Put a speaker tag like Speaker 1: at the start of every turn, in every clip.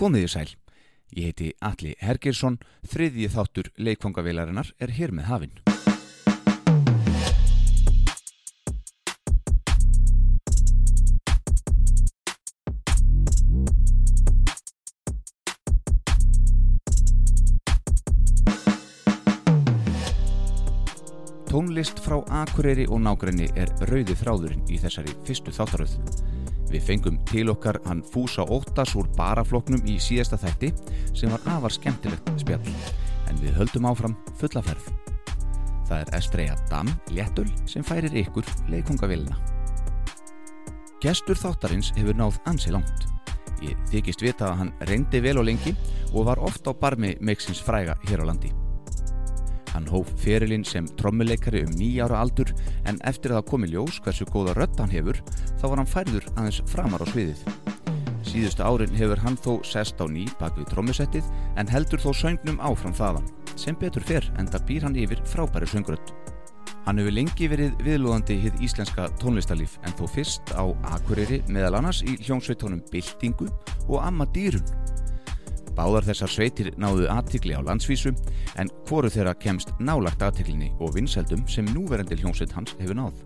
Speaker 1: Komiði sæl. Ég heiti Alli Hergersson, þriðji þáttur leikfangavélarinnar er hér með hafinn. Tónlist frá Akureyri og nágrenni er rauði þráðurinn í þessari fyrstu þáttaröð. Við fengum til okkar hann Fúsa Óttas úr barafloknum í síðasta þætti sem var afar skemmtilegt spjall en við höldum áfram fulla ferð. Það er Estreia Dam Léttul sem færir ykkur leikungavillina. Gestur þáttarins hefur náð ansi langt. Ég þykist vita að hann reyndi vel og lengi og var oft á barmi meiksins fræga hér á landi. Hann hóf ferilinn sem trommuleikari um nýja ára aldur en eftir að það komi ljós hversu góða rödd hann hefur þá var hann færður aðeins framar á sviðið. Síðustu árin hefur hann þó sest á ný bak við trommusettið en heldur þó söngnum áfram þaðan. Sem betur fer enda býr hann yfir frábæri söngrödd. Hann hefur lengi verið viðlóðandi hið íslenska tónlistalíf en þó fyrst á Akureyri meðal annars í hljómsveitónum Byltingu og Amma Dýrun Báðar þessar sveitir náðu aðtikli á landsvísu en hvoru þeirra kemst nálagt aðtiklinni og vinseldum sem núverendil hljómsveit hans hefur náð.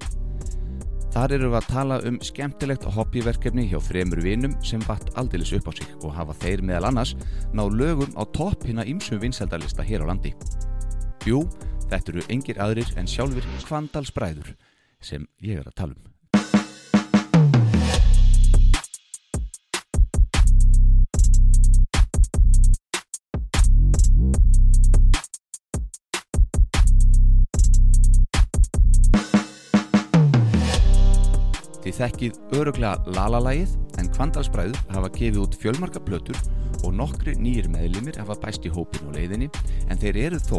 Speaker 1: Þar eru við að tala um skemmtilegt hobbyverkefni hjá fremur vinum sem vatt aldeilis upp á sig og hafa þeir meðal annars ná lögum á topp hinn að ymsum vinseldarlista hér á landi. Jú, þetta eru engir aðrir en sjálfur kvandalsbræður sem ég er að tala um. Þið þekkið öruglega lalalægið en kvandalsbræður hafa gefið út fjölmarka plötur og nokkri nýjir meðlimir hafa bæst í hópin og leiðinni en þeir eru þó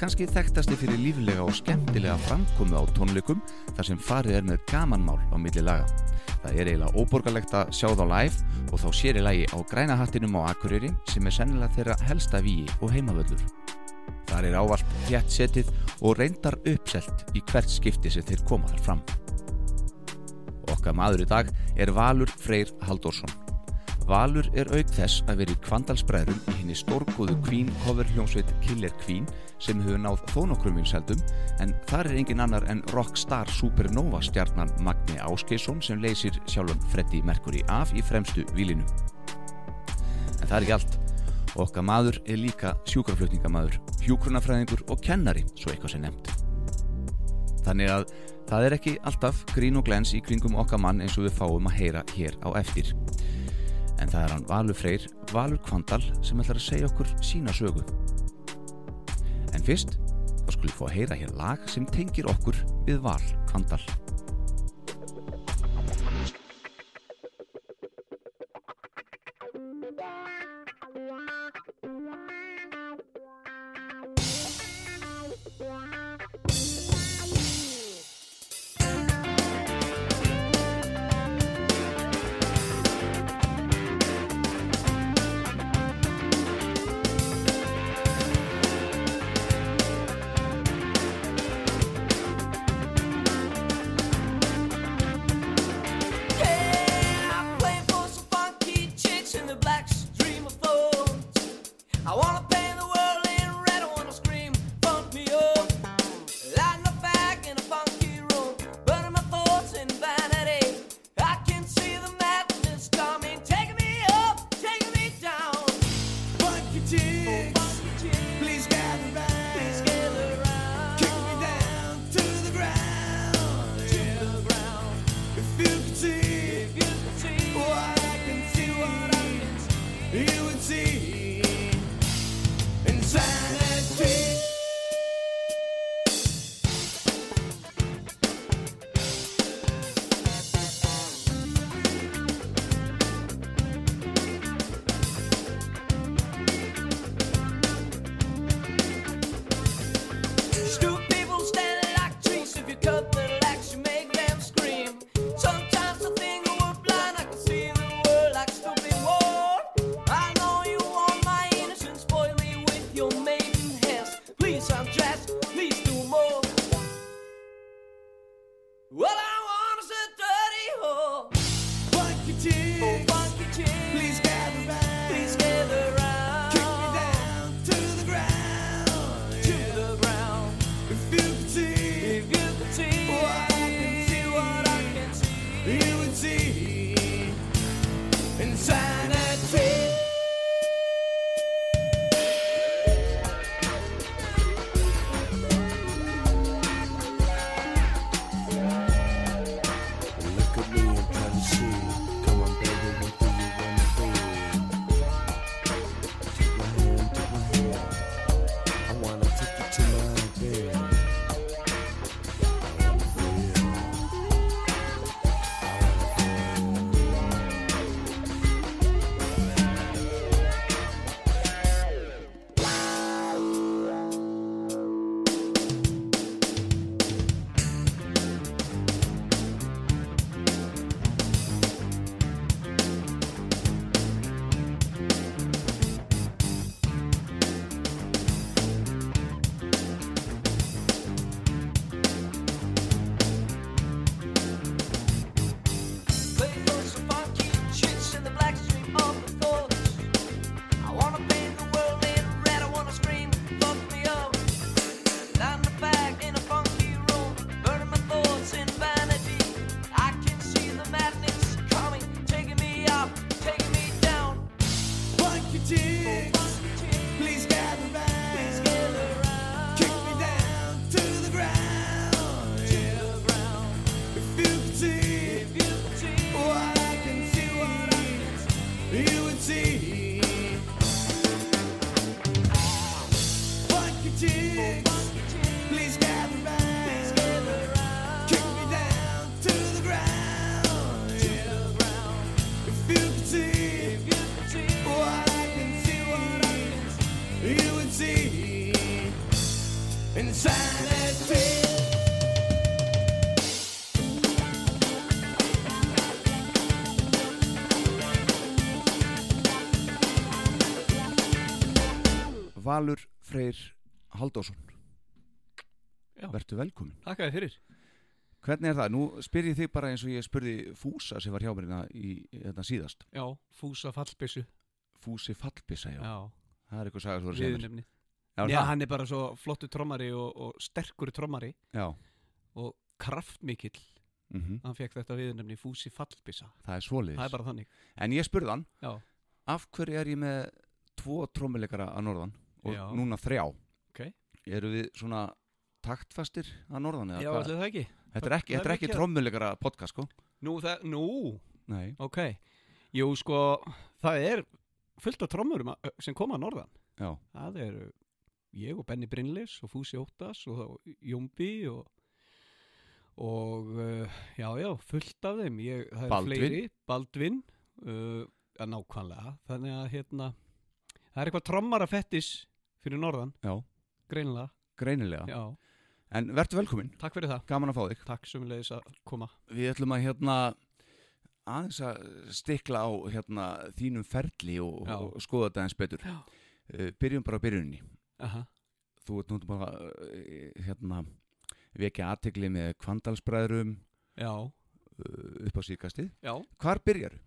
Speaker 1: kannski þekktasti fyrir líflega og skemmtilega framkomu á tónleikum þar sem farið er með gamanmál á milli laga. Það er eiginlega óborgarlegt að sjá þá live og þá sér í lagi á grænahattinum á Akureyri sem er sennilega þeirra helsta víi og heimavöllur. Þar er ávallt þjætt setið og reyndar uppselt í hvert skipti sem þeir koma þar fram. Okkar maður í dag er Valur Freyr Halldórsson. Valur er auk þess að veri kvandalsbræðrum í henni stórgóðu Queen cover hljómsveit Killer Queen sem hefur náð þó nokkrum vinsældum en þar er engin annar en rockstar supernova stjarnan Magni Áskeisson sem leysir sjálfum Freddy Mercury af í fremstu vílinu. En það er ekki allt. Okkar maður er líka sjúkraflutningamaður, hjúkrunafræðingur og kennari, svo eitthvað sem nefnt. Þannig að það er ekki alltaf grín og glens í kringum okkar mann eins og við fáum að heyra hér á eftir. En það er hann Valur Freyr, Valur Kvandal sem ætlar að segja okkur sína sögu. En fyrst, þá skulum við fá að heyra hér lag sem tengir okkur við Val Kvandal.
Speaker 2: I'm playing for some funky chicks in the black stream of thorns. I wanna paint the world in red. I wanna scream, funk me up. Lighting a fag in a funky room, burning my thoughts in vanity. I can see the madness coming, taking me up, taking me down. Oh,
Speaker 3: Funky chicks,
Speaker 2: Funky chicks,
Speaker 3: please gather round.
Speaker 2: please gather round.
Speaker 3: Kick me down to the ground.
Speaker 2: to the ground.
Speaker 3: If you could see
Speaker 2: If you could see
Speaker 3: what I can see,
Speaker 2: what I can see.
Speaker 3: you would see insanity.
Speaker 2: Stupid people standing like trees. If you cut their legs, you make them scream. Sometimes I think we're blind. I can see the world like stupid war. I know you want
Speaker 3: chicks. Please gather round. Kick me down to the ground. Yeah. If you could see what I can see, you would see. Funky chicks, please gather round. Kick me down to the ground. Yeah. If you could see what I can see, you would see inside that pit.
Speaker 1: Valur Freyr Haldásson
Speaker 4: Já.
Speaker 1: Vertu velkomin
Speaker 4: Takk að þið fyrir
Speaker 1: Hvernig er það? Nú spyr ég þig bara eins og ég spurði Fúsa sem var hjá mér hérna í þetta síðast
Speaker 4: Já, fúsa fallbissu
Speaker 1: Fúsi Fallbissa, já.
Speaker 4: Já,
Speaker 1: Það er eitthvað saga þú voru að segja mér
Speaker 4: viðnefni
Speaker 1: Já,
Speaker 4: Já,
Speaker 1: það-
Speaker 4: hann er bara svo flottu trommari og, og sterkur trommari
Speaker 1: já.
Speaker 4: og kraftmikill
Speaker 1: mhm,
Speaker 4: hann fekk þetta viðnefni fúsi fallbissa
Speaker 1: Það er svoleiðis
Speaker 4: Það er bara þannig
Speaker 1: En ég spurði hann,
Speaker 4: Já,
Speaker 1: af hverju er ég með tvo trommuleikara að norðan og
Speaker 4: Já.
Speaker 1: núna þrjá
Speaker 4: ok
Speaker 1: Eru við svona taktfastir að norðan? eða
Speaker 4: Já,
Speaker 1: hvað?
Speaker 4: allir það ekki
Speaker 1: Þetta er ekki,
Speaker 4: það er
Speaker 1: þetta er ekki
Speaker 4: mikið-
Speaker 1: trommuleikara podcast, sko
Speaker 4: Nú, það, nú,
Speaker 1: Nei
Speaker 4: ok Jú, sko, það er fullt af trommurum að- sem koma að norðan
Speaker 1: Já,
Speaker 4: Það eru ég og Benny Brynlis og Fúsi Óttas og þá Jómbi og og uh, já, já, fullt af þeim ég, það eru
Speaker 1: Baldvin.
Speaker 4: fleiri, Baldvin uh, að nákvæmlega þannig að hérna það er eitthvað trommara fettis fyrir norðan
Speaker 1: já,
Speaker 4: greinilega,
Speaker 1: greinilega
Speaker 4: já,
Speaker 1: En vertu velkomin,
Speaker 4: takk fyrir það
Speaker 1: gaman að fá þig
Speaker 4: takk sömulegis að koma
Speaker 1: Við ætlum að hérna aðeins að stikla á hérna, þínum ferli og,
Speaker 4: Já.
Speaker 1: og skoða þetta eins betur.
Speaker 4: Já.
Speaker 1: Uh, byrjum bara á byrjunni.
Speaker 4: Aha.
Speaker 1: Þú ert nú bara uh, hérna, vekja aðtegli með kvandalsbræðurum
Speaker 4: já,
Speaker 1: uh, upp á síkastið.
Speaker 4: já,
Speaker 1: Hvar byrjar?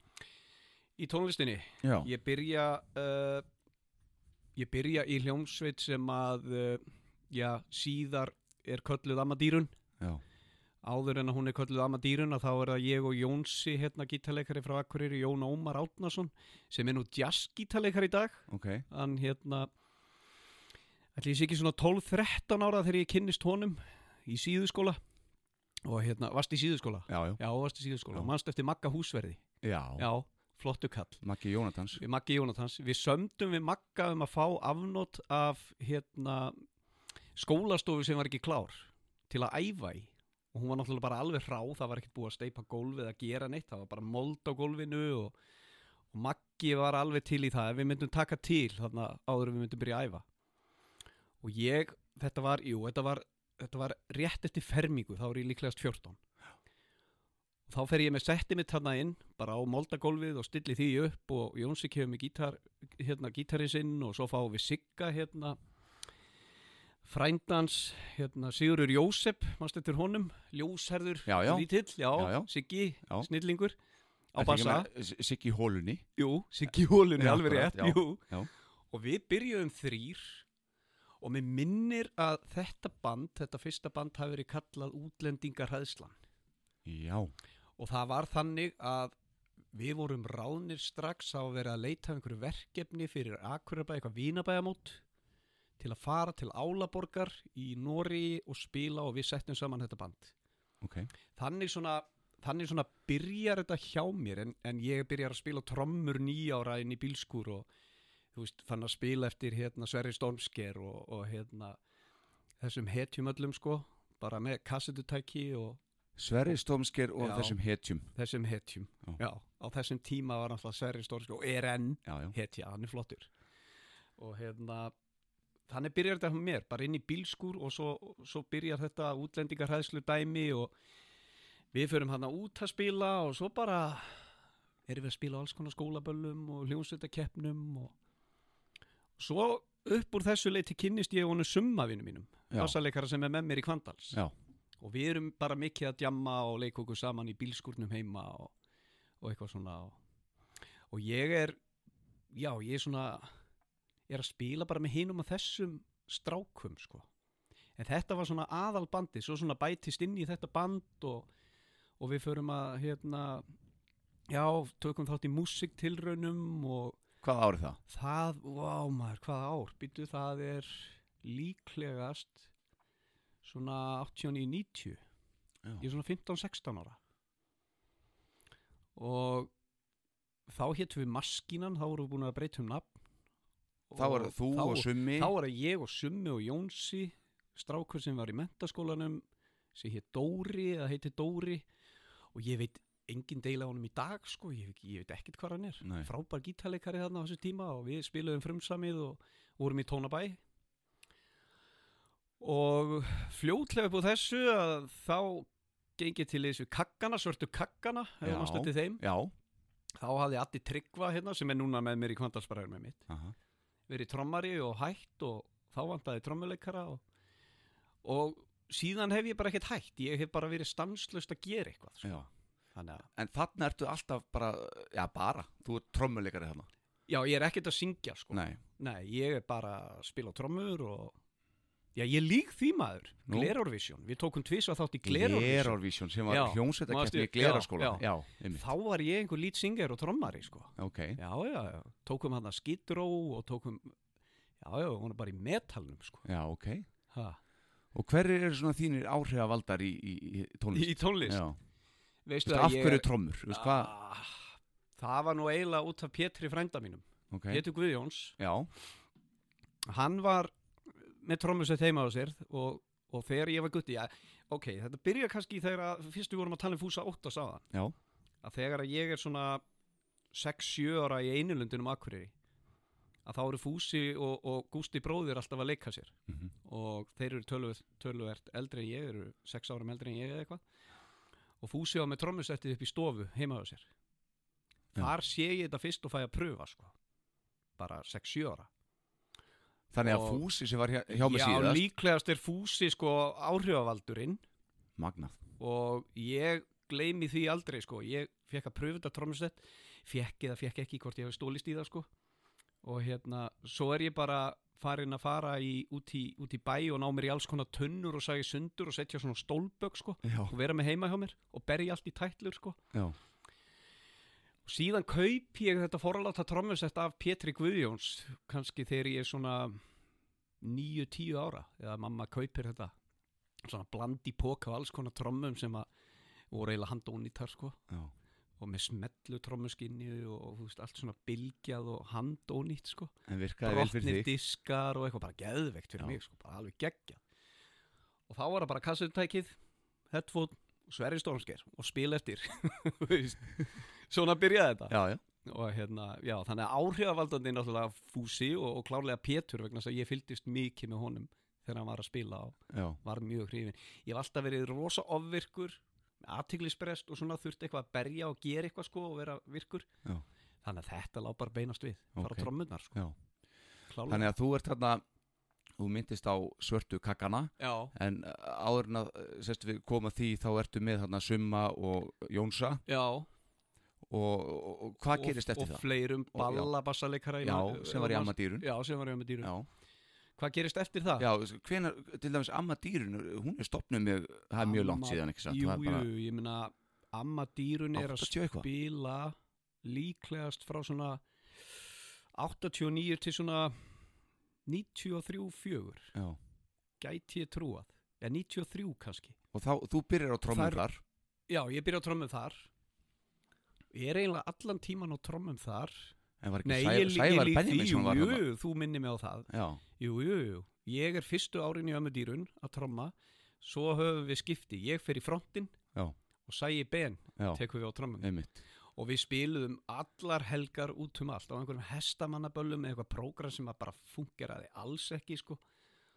Speaker 4: í tónlistinni
Speaker 1: Já,
Speaker 4: ég byrja uh, ég byrja í hljómsveit sem að uh, já, síðar er kölluð Amadýrun
Speaker 1: já,
Speaker 4: áður en að hún er kölluð Amadýrun að þá er það ég og Jónsi hérna gítarleikari frá Akureyri, Jón Ómar Átnason sem er nú jazz í dag
Speaker 1: ok.
Speaker 4: hann hérna ætli ég sé ekki svona 12-13 ára þegar ég kynnist honum í síðuskóla og hérna, varst í síðuskóla?
Speaker 1: Já, já.
Speaker 4: Já, varst í síðuskóla,
Speaker 1: Já.
Speaker 4: manst eftir Magga Húsverði
Speaker 1: Já,
Speaker 4: Já, flottu kall
Speaker 1: Maggi Jónatans.
Speaker 4: við Maggi Jónatans, við sömdum við Magga um að fá afnót af hérna, skólastofu sem var ekki klár til að æfa í og hún var náttúrulega bara alveg hrá, það var ekkert búið að steipa gólfið að gera neitt, það var bara mold á gólfinu og, og Maggi var alveg til í það, ef við myndum taka til þarna áður en við myndum byrja að æfa og ég, þetta var, jú, þetta var, þetta var rétt eftir fermingu, þá er ég líklegast 14 og þá fer ég með setti mitt þarna inn bara á moldagólfið og stilli því upp og Jónsi kemur með gítar, hérna, gítarinn sinn og svo fáum við Sigga hérna frændans hérna, Sigurur Jósef mannst eftir honum, ljósherður
Speaker 1: Já, já.
Speaker 4: lítill, já,
Speaker 1: Já, já.
Speaker 4: Siggi,
Speaker 1: Já.
Speaker 4: snillingur
Speaker 1: Ertu
Speaker 4: á
Speaker 1: ekki
Speaker 4: bassa,
Speaker 1: með S- Siggi Hólunni.
Speaker 4: jú, Siggi hólunni
Speaker 1: Já,
Speaker 4: alveg
Speaker 1: akkurat,
Speaker 4: rétt,
Speaker 1: já,
Speaker 4: jú
Speaker 1: já.
Speaker 4: og við byrjuðum þrýr og mér minnir að þetta band, þetta fyrsta band hafi verið kallað útlendingarhæðslan
Speaker 1: Já,
Speaker 4: og það var þannig að við vorum ráðnir strax á að vera að leita af einhverju verkefni fyrir Akureyrarbæ, eitthvað vínabæðamót til að fara til Álaborgar í Nóri og spila og við settum saman þetta band
Speaker 1: ok.
Speaker 4: þannig svona, þannig svona byrjar þetta hjá mér en, en ég byrjar að spila á trommur nýjára inn í bílskúr og þú veist, þannig að spila eftir hérna Sverri Stormsker og, og hérna þessum hetjum öllum sko bara með kassetutæki og
Speaker 1: Sverri Stómsker og
Speaker 4: Já.
Speaker 1: þessum hetjum.
Speaker 4: þessum hetjum
Speaker 1: Já.
Speaker 4: já, á þessum tíma var náttúrulega Sverri Stormsker og er enn
Speaker 1: Já, já.
Speaker 4: hetja, hann er flottur og hérna þannig byrjar þetta hjá mér, bara inn í bílskur og svo, svo byrjar þetta útlendingarhæðslu dæmi og við förum hann út að spila og svo bara erum við að spila á alls konar skólaböllum og hljónsveitakeppnum og svo upp úr þessu leiti kynnist ég honum summavinum mínum,
Speaker 1: Já.
Speaker 4: bassaleikara sem er með mér í Kvandals
Speaker 1: Já.
Speaker 4: og við erum bara mikið að djamma og leika okkur saman í bílskurnum heima og, og eitthvað svona og, og ég er já, ég er svona er að spila bara með hinum að þessum strákum sko en þetta var svona aðalbandi, svo svona bætist inn í þetta band og, og við förum að hérna já, tökum þátt í músiktilraunum og
Speaker 1: Hvað árið það?
Speaker 4: Það, vá maður, hvað ár? Býtu, það er líklegast svona 89-90.
Speaker 1: Já.
Speaker 4: Ég er svona 15-16 ára. Og þá héttum við Maskínan, þá vorum við búin að breyta um nafn.
Speaker 1: Þá er
Speaker 4: Og
Speaker 1: þú
Speaker 4: þá-
Speaker 1: og Summi
Speaker 4: Þá var það ég og Summi og Jónsi, strákur sem var í mentaskólanum, sem hétt Dóri, eða heiti Dóri. Og ég veit engin deila á honum í dag, sko, ég, veit- ég veit ekkert hvað hann er
Speaker 1: Nei.
Speaker 4: frábær gítarleikari þarna á þessu tíma og við spiluðum frumsamið og vorum í tónabæ og fljótlega upp á þessu að þá gengið til þessu kakkana, svörtu kakkana
Speaker 1: Já.
Speaker 4: ef maður til þeim,
Speaker 1: Já
Speaker 4: þá hafði Addi Tryggva hérna sem er núna með mér í kvantarsbæðar með mitt
Speaker 1: Aha.
Speaker 4: verið trommari og hætt og þá vantaði trommuleikara og, og síðan hef ég bara ekkert hætt ég hef bara verið stanslust að gera eitthvað sko.
Speaker 1: Já
Speaker 4: þannig að,
Speaker 1: En þarna ertu alltaf bara, já bara, þú ert trommuleikari þarna.
Speaker 4: já ég er ekkert að syngja sko.
Speaker 1: Nei,
Speaker 4: Nei, ég er bara að spila á trommur og Já, ég lík því maður
Speaker 1: Nú?
Speaker 4: Glerorvision, við tókum tvisa þátt í Glerorvision
Speaker 1: Glerorvision sem var
Speaker 4: Já,
Speaker 1: hljómsveitakeppni í
Speaker 4: manstu-
Speaker 1: Gleraskóla.
Speaker 4: já,
Speaker 1: Já, einmitt.
Speaker 4: Þá var ég einhver lít singer og trommari sko.
Speaker 1: Ok,
Speaker 4: Já, já, já Tókum hann að skidró og tókum Já, já, hún er bara í metalnum sko.
Speaker 1: já, ok.
Speaker 4: Ha.
Speaker 1: Og hverjir eru svona þínir áhrifavaldar í, í, í tónlist?
Speaker 4: Í tónlist
Speaker 1: Já,
Speaker 4: Veistu
Speaker 1: Þú veist, af hverju trommur, þú veist hvað?
Speaker 4: Ah, Það var nú eiginlega út af Pétri frænda mínum
Speaker 1: Ok,
Speaker 4: Pétur Guðjóns
Speaker 1: já,
Speaker 4: hann var með trommusett heima á sér og, og þegar ég var gutti ja, ok, þetta byrja kannski þegar að fyrst við vorum að tala um fúsa 8 sáðan
Speaker 1: já,
Speaker 4: að þegar að ég er svona 6-7 ára í einulundinum Akureyri að þá eru Fúsi og, og Gústi bróðir alltaf að leika sér
Speaker 1: Mhm.
Speaker 4: og þeir eru töluvert, töluvert eldri en ég eru 6 árum eldri en ég eða eitthvað og Fúsi var með trommusettið upp í stofu heima á sér
Speaker 1: Já.
Speaker 4: þar sé ég þetta fyrst og fæ að pröfa sko. bara 6-7 ára
Speaker 1: þannig að
Speaker 4: Og-
Speaker 1: Fúsi sem var hjá, hjá mig
Speaker 4: Já,
Speaker 1: síðast,
Speaker 4: líklegast er Fúsi sko áhrifavaldurinn
Speaker 1: magnað,
Speaker 4: og ég gleymi því aldrei sko, ég fekk að pröfu þetta trómsett, fekk eða fekk ekki hvort ég hef stólist í það sko og hérna, svo er ég bara farin að fara í, út, í, út í bæ og ná mér í alls konar tunnur og sagði sundur og setja svona stólbögg sko
Speaker 1: já,
Speaker 4: og vera með heima hjá mér og berja allt í tætlur sko
Speaker 1: já,
Speaker 4: og síðan kaup ég þetta forláta trómsett af Pétri Guðjóns kannski þegar ég er svona 9-10 ára eða mamma kaupir þetta svona blandi póka og alls konar trommum sem að voru eiginlega handónýtar sko
Speaker 1: já,
Speaker 4: og með smetlu trommuskinni og, og þú veist, allt svona bylgjað og handónýtt sko
Speaker 1: en virkaði vel fyrir
Speaker 4: brotnir
Speaker 1: þig.
Speaker 4: diskar og eitthvað bara geðveikt fyrir
Speaker 1: Já.
Speaker 4: mig sko, bara alveg geggjað og þá var það bara kassutækið headphone, Sverri Stormsker og spil eftir þú veist. svona byrjaði þetta
Speaker 1: Já, já,
Speaker 4: og hérna, já, þannig að áhrifavaldandi er náttúrulega Fúsi og, og klárlega Pétur vegna þess að ég fylgdist mikið með honum þegar hann var að spila og
Speaker 1: já,
Speaker 4: var mjög hrifin ég hef alltaf verið rosa ofvirkur aðtiklisprest og svona þurfti eitthvað að berja og gera eitthvað sko og vera virkur
Speaker 1: Já.
Speaker 4: þannig að þetta lá bara beinast við fara
Speaker 1: Ok.
Speaker 4: okay. trommunar sko,
Speaker 1: já.
Speaker 4: klálega
Speaker 1: Þannig að þú ert þarna, þú myndist á svörtu kakkana,
Speaker 4: já,
Speaker 1: en uh, áður en að, uh, sérst við koma því, þá ertu með þarna Summa og Jónsa
Speaker 4: já
Speaker 1: og, og, og hvað gerist eftir
Speaker 4: og
Speaker 1: það?
Speaker 4: fleirum
Speaker 1: já.
Speaker 4: ballabassaleikara
Speaker 1: Já, sem var í Amadýrun.
Speaker 4: já, sem var í amma dýrun
Speaker 1: Já,
Speaker 4: hvað gerist eftir það?
Speaker 1: já hvenar, til dæmis Amadýrun, hún er stopnuð með, það er mjög langt
Speaker 4: Amma-
Speaker 1: síðan, ekki satt?
Speaker 4: jú,
Speaker 1: Það er bara
Speaker 4: jú, ég meina amma dýrun er að
Speaker 1: 80 eitthvað.
Speaker 4: spila líklegast frá svona 89 til svona 93, 4
Speaker 1: Já,
Speaker 4: gæti ég trúað eða 93 kannski
Speaker 1: og þá, þú byrjar á trommum
Speaker 4: Þar-
Speaker 1: þar,
Speaker 4: já, ég byrja á trommum þar ég er eiginlega allan tíman á trommum þar
Speaker 1: en var ekki
Speaker 4: nei,
Speaker 1: Sæ,
Speaker 4: ég, lí- ég
Speaker 1: Sævar
Speaker 4: lík því,
Speaker 1: Benjaminsson
Speaker 4: jú,
Speaker 1: var þarna?
Speaker 4: jú, þú minni mig á það
Speaker 1: Já,
Speaker 4: jú, jú, jú, ég er fyrstu árin í ömmudýrun að tromma svo höfum við skipti, ég fer í frontin
Speaker 1: Já.
Speaker 4: og sæi ben,
Speaker 1: já,
Speaker 4: tekum við á trommum
Speaker 1: einmitt,
Speaker 4: og við spiluðum allar helgar út um allt á einhverjum hestamannaböllum eða eitthvað prógram sem að bara fungeraði alls ekki sko,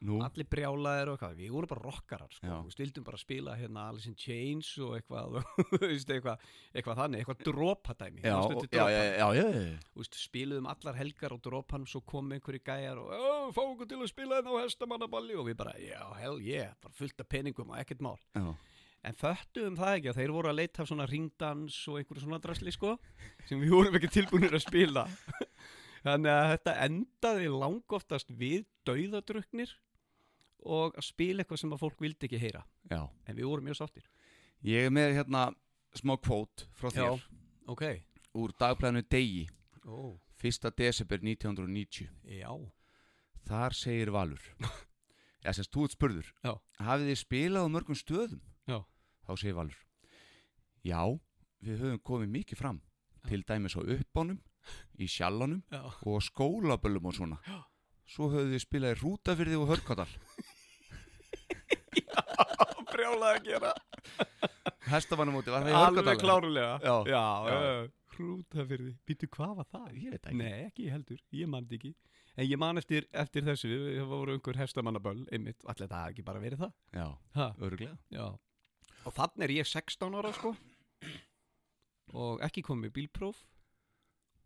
Speaker 1: nú,
Speaker 4: allir brjálaðir og eitthvað, við vorum bara rockarar sko,
Speaker 1: Já.
Speaker 4: við stildum bara að spila hérna Alice in Chains og eitthvað, þú veist, eitthvað, eitthvað þannig, eitthvað dropadæmi
Speaker 1: já,
Speaker 4: manstu
Speaker 1: og-
Speaker 4: eftir
Speaker 1: já, já,
Speaker 4: dropanum?
Speaker 1: já, já, já,
Speaker 4: Þú veist, spiluðum allar helgar á dropanum svo kom einhverju gæjar og "Ó, fáum okkur til að spila hérna á hestamannaballi og við bara, já, hell yeah, bara fullt af peningum og ekkert mál
Speaker 1: já,
Speaker 4: En föttuðum það ekki að þeir voru að leita af svona ringdans og einhverju svona drasli sko sem við vorum ekki tilbúinir að spila Þannig að þetta endaði langoftast við dauðadruknir og að spila eitthvað sem að fólk vildi ekki heyra
Speaker 1: já.
Speaker 4: en við vorum mjög sáttir
Speaker 1: Ég er með hérna smá kvót frá þér
Speaker 4: ok
Speaker 1: úr dagblæðinu Degi
Speaker 4: oh.
Speaker 1: 1. desember 1990
Speaker 4: Já,
Speaker 1: þar segir Valur eða sem stúð spurður
Speaker 4: Já.
Speaker 1: hafið þið spilað á mörgum stöðum
Speaker 4: Já.
Speaker 1: þá segir Valur já, við höfum komið mikið fram til dæmis á uppbánum í sjallanum
Speaker 4: já,
Speaker 1: og á skólaböllum og svona svo höfum við spilað í Rútafyrði og Hörkadal
Speaker 4: brjálega að gera
Speaker 1: hestamannumóti var það í Hörkadal
Speaker 4: Alveg klárulega
Speaker 1: Já.
Speaker 4: já,
Speaker 1: Já.
Speaker 4: já. hrúta fyrir því Býtu, hvað var það?
Speaker 1: Ég veit það ekki.
Speaker 4: Nei, ekki ég heldur, ég man þetta ekki En ég man eftir, eftir þessu, við voru einhver hestamannaböll einmitt, allir þetta hafði ekki bara verið það
Speaker 1: já,
Speaker 4: ha,
Speaker 1: örglega
Speaker 4: Já Og þannig er ég 16 ára sko og ekki komið bílpróf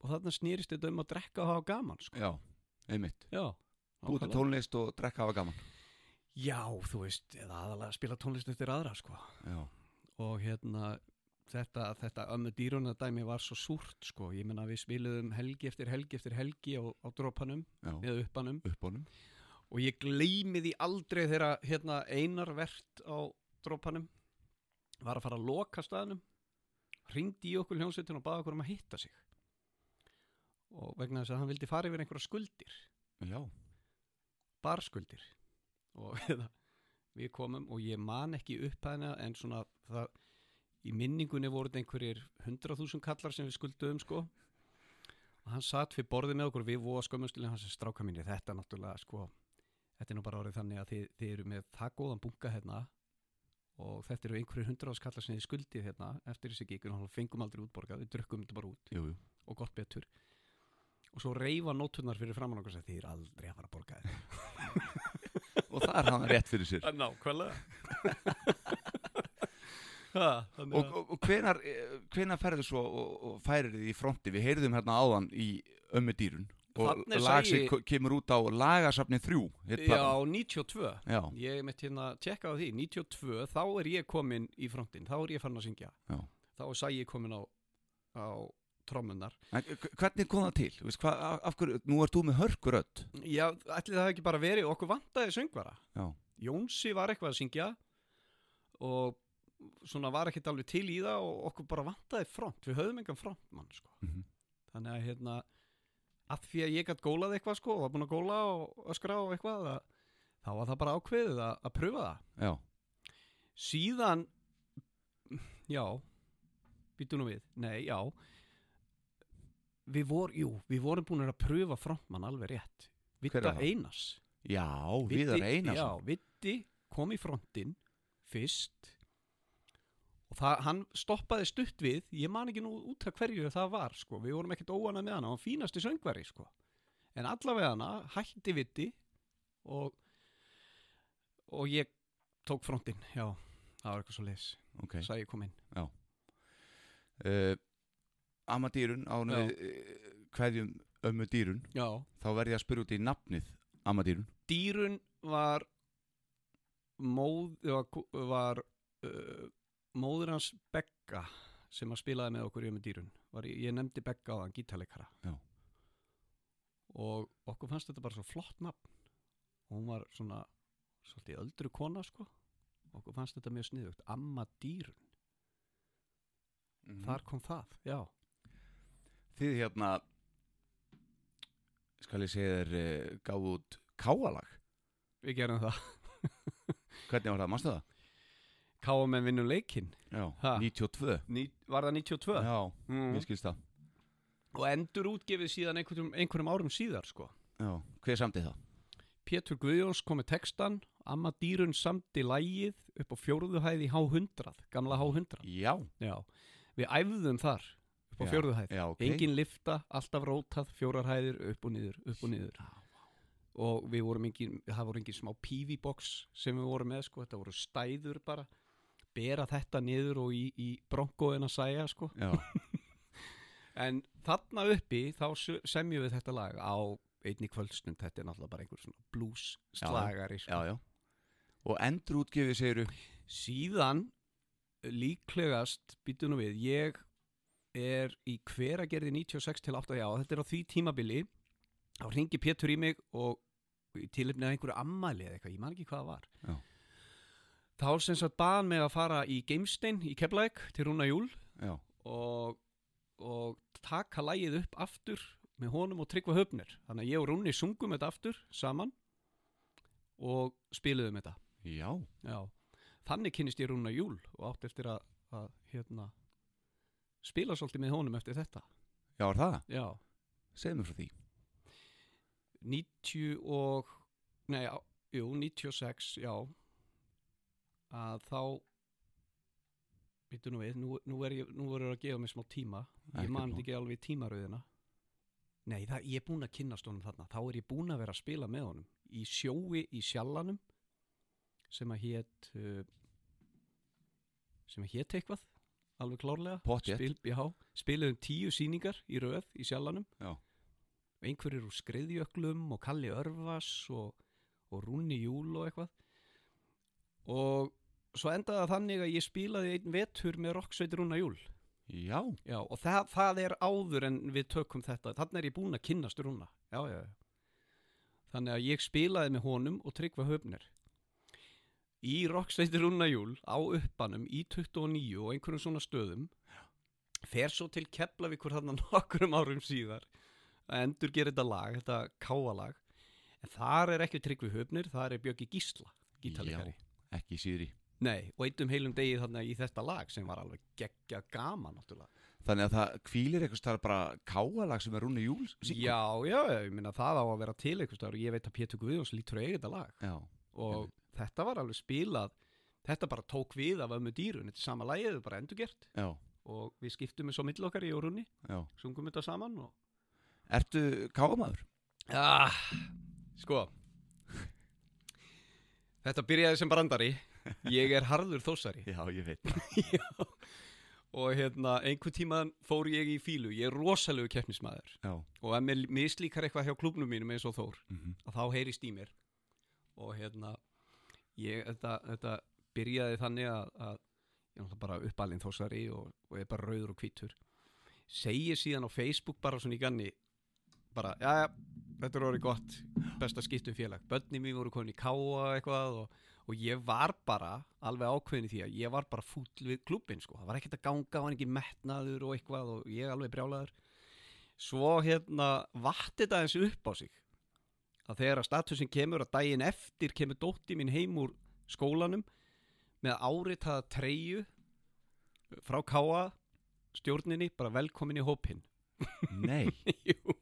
Speaker 4: og þannig snýrist þetta um að drekka og hafa gaman sko
Speaker 1: já, einmitt
Speaker 4: Já,
Speaker 1: búið til
Speaker 4: nákvæmlega.
Speaker 1: tónlist og drekka hafa gaman
Speaker 4: Já, þú veist, eða aðalega spila tónlist eftir aðra sko
Speaker 1: já,
Speaker 4: og hérna þetta, þetta ömmu dýruna dæmi var svo súrt sko, ég menna við spiluðum helgi eftir helgi eftir helgi á, á dropanum
Speaker 1: já,
Speaker 4: eða uppanum
Speaker 1: uppbánum
Speaker 4: og ég gleymi því aldrei þegar hérna einar vert á dropanum var að fara að loka staðnum ringdi í okkur hljónsettun og baði okkur um að hitta sig og vegna þess að hann vildi fara yfir einhverja skuldir
Speaker 1: já,
Speaker 4: barskuldir og eða, við komum og ég man ekki upphæðina en svona það, í minningunni voru þetta einhverjir 100.000 kallar sem við skulduðum sko og hann satt fyrir borðið með okkur við voða skömmustilega hans stráka mínir þetta er náttúrulega sko þetta er nú bara orðið þannig að þið, þið eru með það góðan bunga hérna og þetta eru einhverjir 100.000 kallar sem þið skuldið hérna eftir þessi gíkun og hann fengum aldrei útborgað við drukkum þetta bara út
Speaker 1: jú, jú
Speaker 4: og gott betur og svo reyfa nótunar fyrir framann okkur og sagði þið er aldrei að fara að borga þér
Speaker 1: og það er hann rétt fyrir sér
Speaker 4: Eh, Nákvæmlega ha, þannig
Speaker 1: Og, og, og hvenar, eh, hvenar ferðu svo og, og færir þið í fronti? Við heyrðum hérna áðan í ömmu dýrun og
Speaker 4: Þarna er
Speaker 1: lag
Speaker 4: Sæi-
Speaker 1: sem ko- kemur út á lagasafni 3
Speaker 4: að-
Speaker 1: hét
Speaker 4: Já,
Speaker 1: platan.
Speaker 4: 92
Speaker 1: Já,
Speaker 4: Ég mitt hérna tjekka á því 92, þá er ég komin í frontinn Þá er ég fann að syngja
Speaker 1: Já.
Speaker 4: Þá er sæ ég komin á, á trommunar
Speaker 1: En h- hvernig kom það til? Þú Veist, hva, af, af hverju, nú ert þú með hörkurödd
Speaker 4: Já, ætli það hafi ekki bara verið Okkur vantaði söngvara
Speaker 1: Já.
Speaker 4: Jónsi var eitthvað að syngja Og svona var ekkert alveg til í það Og okkur bara vantaði front Við höfðum engan frontmann sko.
Speaker 1: Mhm.
Speaker 4: Þannig að hérna að því að ég gætt gólað eitthvað sko og var búin að góla og öskra og eitthvað að, þá var það bara ákveðið að, að pröfa það
Speaker 1: Já,
Speaker 4: síðan já býtu nú við, nei, já við vorum, jú, við vorum búin að pröfa frontmann alveg rétt
Speaker 1: Hver er
Speaker 4: Vitta
Speaker 1: það?
Speaker 4: Einars
Speaker 1: já, Viðar Einars
Speaker 4: já, Vitti kom í frontinn fyrst og það, hann stoppaði stutt við ég man ekki nú út af hverju það var sko. við vorum ekkert óanað með hana, hann var fínasti söngvari sko. en allavega hana hætti Vitti og, og ég tók frontinn, já, það var eitthvað svo leis
Speaker 1: okay.
Speaker 4: sæ ég kom inn
Speaker 1: uh, Amma dýrun
Speaker 4: Já.
Speaker 1: ánum við uh, hverjum ömmu dýrun
Speaker 4: já.
Speaker 1: þá verð ég að spyrja út í nafnið Amma dýrun
Speaker 4: dýrun var móð var, var uh, móður hans Begga sem að spilaði með okkur í með dýrun var, ég nefndi Begga á þann gítarleikara
Speaker 1: Já.
Speaker 4: og okkur fannst þetta bara svo flott nafn og hún var svona svolítið öldru kona sko okkur fannst þetta mjög sniðugt Amma dýrun,
Speaker 1: Mm.
Speaker 4: þar kom það já,
Speaker 1: Þið hérna skal ég segja þér uh, gáðu út káalag
Speaker 4: við gerum það
Speaker 1: Hvernig var það, mannstu það?
Speaker 4: Káum en vinnum leikinn
Speaker 1: Já,
Speaker 4: Ha.
Speaker 1: 92
Speaker 4: Ný, var það 92?
Speaker 1: Já,
Speaker 4: Mm.
Speaker 1: mér skilst það
Speaker 4: og endur útgefið síðan einhverjum, einhverjum árum síðar sko.
Speaker 1: Já, hver samdi það?
Speaker 4: Pétur Guðjóns kom með textan Amma dýrun samti lægið upp á fjórðu hæð í H100 gamla H100
Speaker 1: Já,
Speaker 4: Já. við æfðum þar upp á
Speaker 1: Já,
Speaker 4: fjórðu hæð
Speaker 1: já, ok
Speaker 4: engin lifta, alltaf rótað, fjórar hæðir upp og niður, upp og niður og við vorum engin, það voru engin smá PV-box sem við vorum með sko, þetta voru stæður bara bera þetta niður og í, í bronkoðin að sæja sko
Speaker 1: Já,
Speaker 4: En þarna uppi þá su- semjum við þetta lag á einni kvöldstund, þetta er náttúrulega bara einhver svona blues slagari
Speaker 1: já,
Speaker 4: sko.
Speaker 1: já Og endur útgefið segiru
Speaker 4: Síðan eh, líklegast, býtum nú við, ég er í hveragerði 96 til 8, já, þetta er á því tímabili þá ringi Pétur í mig og í tilefni af einhverju ammæli eða eitthvað, ég man ekki hvað það var
Speaker 1: Já.
Speaker 4: þá sem sagt baðan mig að fara í Geimstein í Keflæk til Rúna Júl
Speaker 1: Já,
Speaker 4: og, og taka lægið upp aftur með honum og Tryggva Höfnir þannig að ég og Rúni sungum þetta aftur saman og spiluðum þetta
Speaker 1: Já,
Speaker 4: Já. þannig kynnist ég Rúna Júl og átt eftir að, að hérna, spila svolítið með honum eftir þetta
Speaker 1: já er það?
Speaker 4: Já,
Speaker 1: Segðu mér frá því
Speaker 4: 90 og nei, á- jú, 96, já að þá býttu nú við, nú, nú er ég nú verður að gefa mér smá tíma ég
Speaker 1: Ekkert
Speaker 4: man
Speaker 1: mál.
Speaker 4: þetta ekki alveg tímaröðina Nei, það, ég er búin að kynnast honum þarna þá er ég búin að vera að spila með honum í sjói í sjallanum sem að hét uh, sem að hét eitthvað alveg klárlega
Speaker 1: Pottþétt.
Speaker 4: Spil, já, spiluðum tíu sýningar í röð í sjallanum
Speaker 1: Já.
Speaker 4: einhverjir úr skriðjöklum og Kalli Örvas og, og Rúni Júl og eitthvað og svo endaði það þannig að ég spilaði einn vetur með Rocksveit Rúna Júl
Speaker 1: Já,
Speaker 4: Já, og það, það er áður en við tökum þetta. Þannig er ég búin að kynnast rúna. Já, já, já. Þannig að ég spilaði með honum og tryggva höfnir. Í Rocksveitir Rúnajúl á uppanum í 29 og einhverjum svona stöðum fer svo til Keflavíkur þarna nokkrum árum síðar að endur gera þetta lag, þetta káalag. En þar er ekki tryggvi höfnir, þar er Björki Gísla, gítalegari.
Speaker 1: ekki síðri
Speaker 4: Nei, og eitt um heilum degi þarna í þetta lag sem var alveg geggja gama náttúrulega.
Speaker 1: Þannig að það kvílir eitthvað starf bara káalag sem er Rúni Júls
Speaker 4: Já, já, já, ég minna það á að vera til einhvers staðar og ég veit að Pétur Guðjóns lítur að eiga þetta lag
Speaker 1: Já,
Speaker 4: og þetta var alveg spilað, þetta bara tók við af ömmu dýrun, þetta er sama lagið, þetta er bara endurgert
Speaker 1: já,
Speaker 4: og við skiptum við svo mill okkar í orunni,
Speaker 1: já
Speaker 4: sungum þetta saman og...
Speaker 1: Ertu káamaður?
Speaker 4: Ah, sko, þetta byrjaði sem brandari, ég er harður þósari
Speaker 1: Já, ég veit það
Speaker 4: og hérna einhvern tíman fór ég í fílu, ég er rosalegu keppnismæður
Speaker 1: Já,
Speaker 4: og ef mér mislíkar eitthvað hjá klubnum mínum eins og Þór
Speaker 1: Mhm.
Speaker 4: að þá heyrist í mér og hérna ég, þetta, þetta byrjaði þannig að, að ég er náttúrulega bara uppalinn þósari og, og er bara rauður og hvítur segi síðan á Facebook bara svona í ganni bara, já, já, þetta er orðið gott best að skipta um félag, börnin mín voru komin í káa eitthvað og, og ég var bara alveg ákveðin í því að ég var bara fúll við klubbin sko, það var ekkert að ganga það var ekki metnaður og eitthvað og ég alveg brjálaður svo hérna vatti þetta eins upp á sig að þegar að statusin kemur að daginn eftir kemur dótti mín heim úr skólanum með áritaða treyju frá káa stjórninni, bara velkomin í hópinn
Speaker 1: nei
Speaker 4: Jú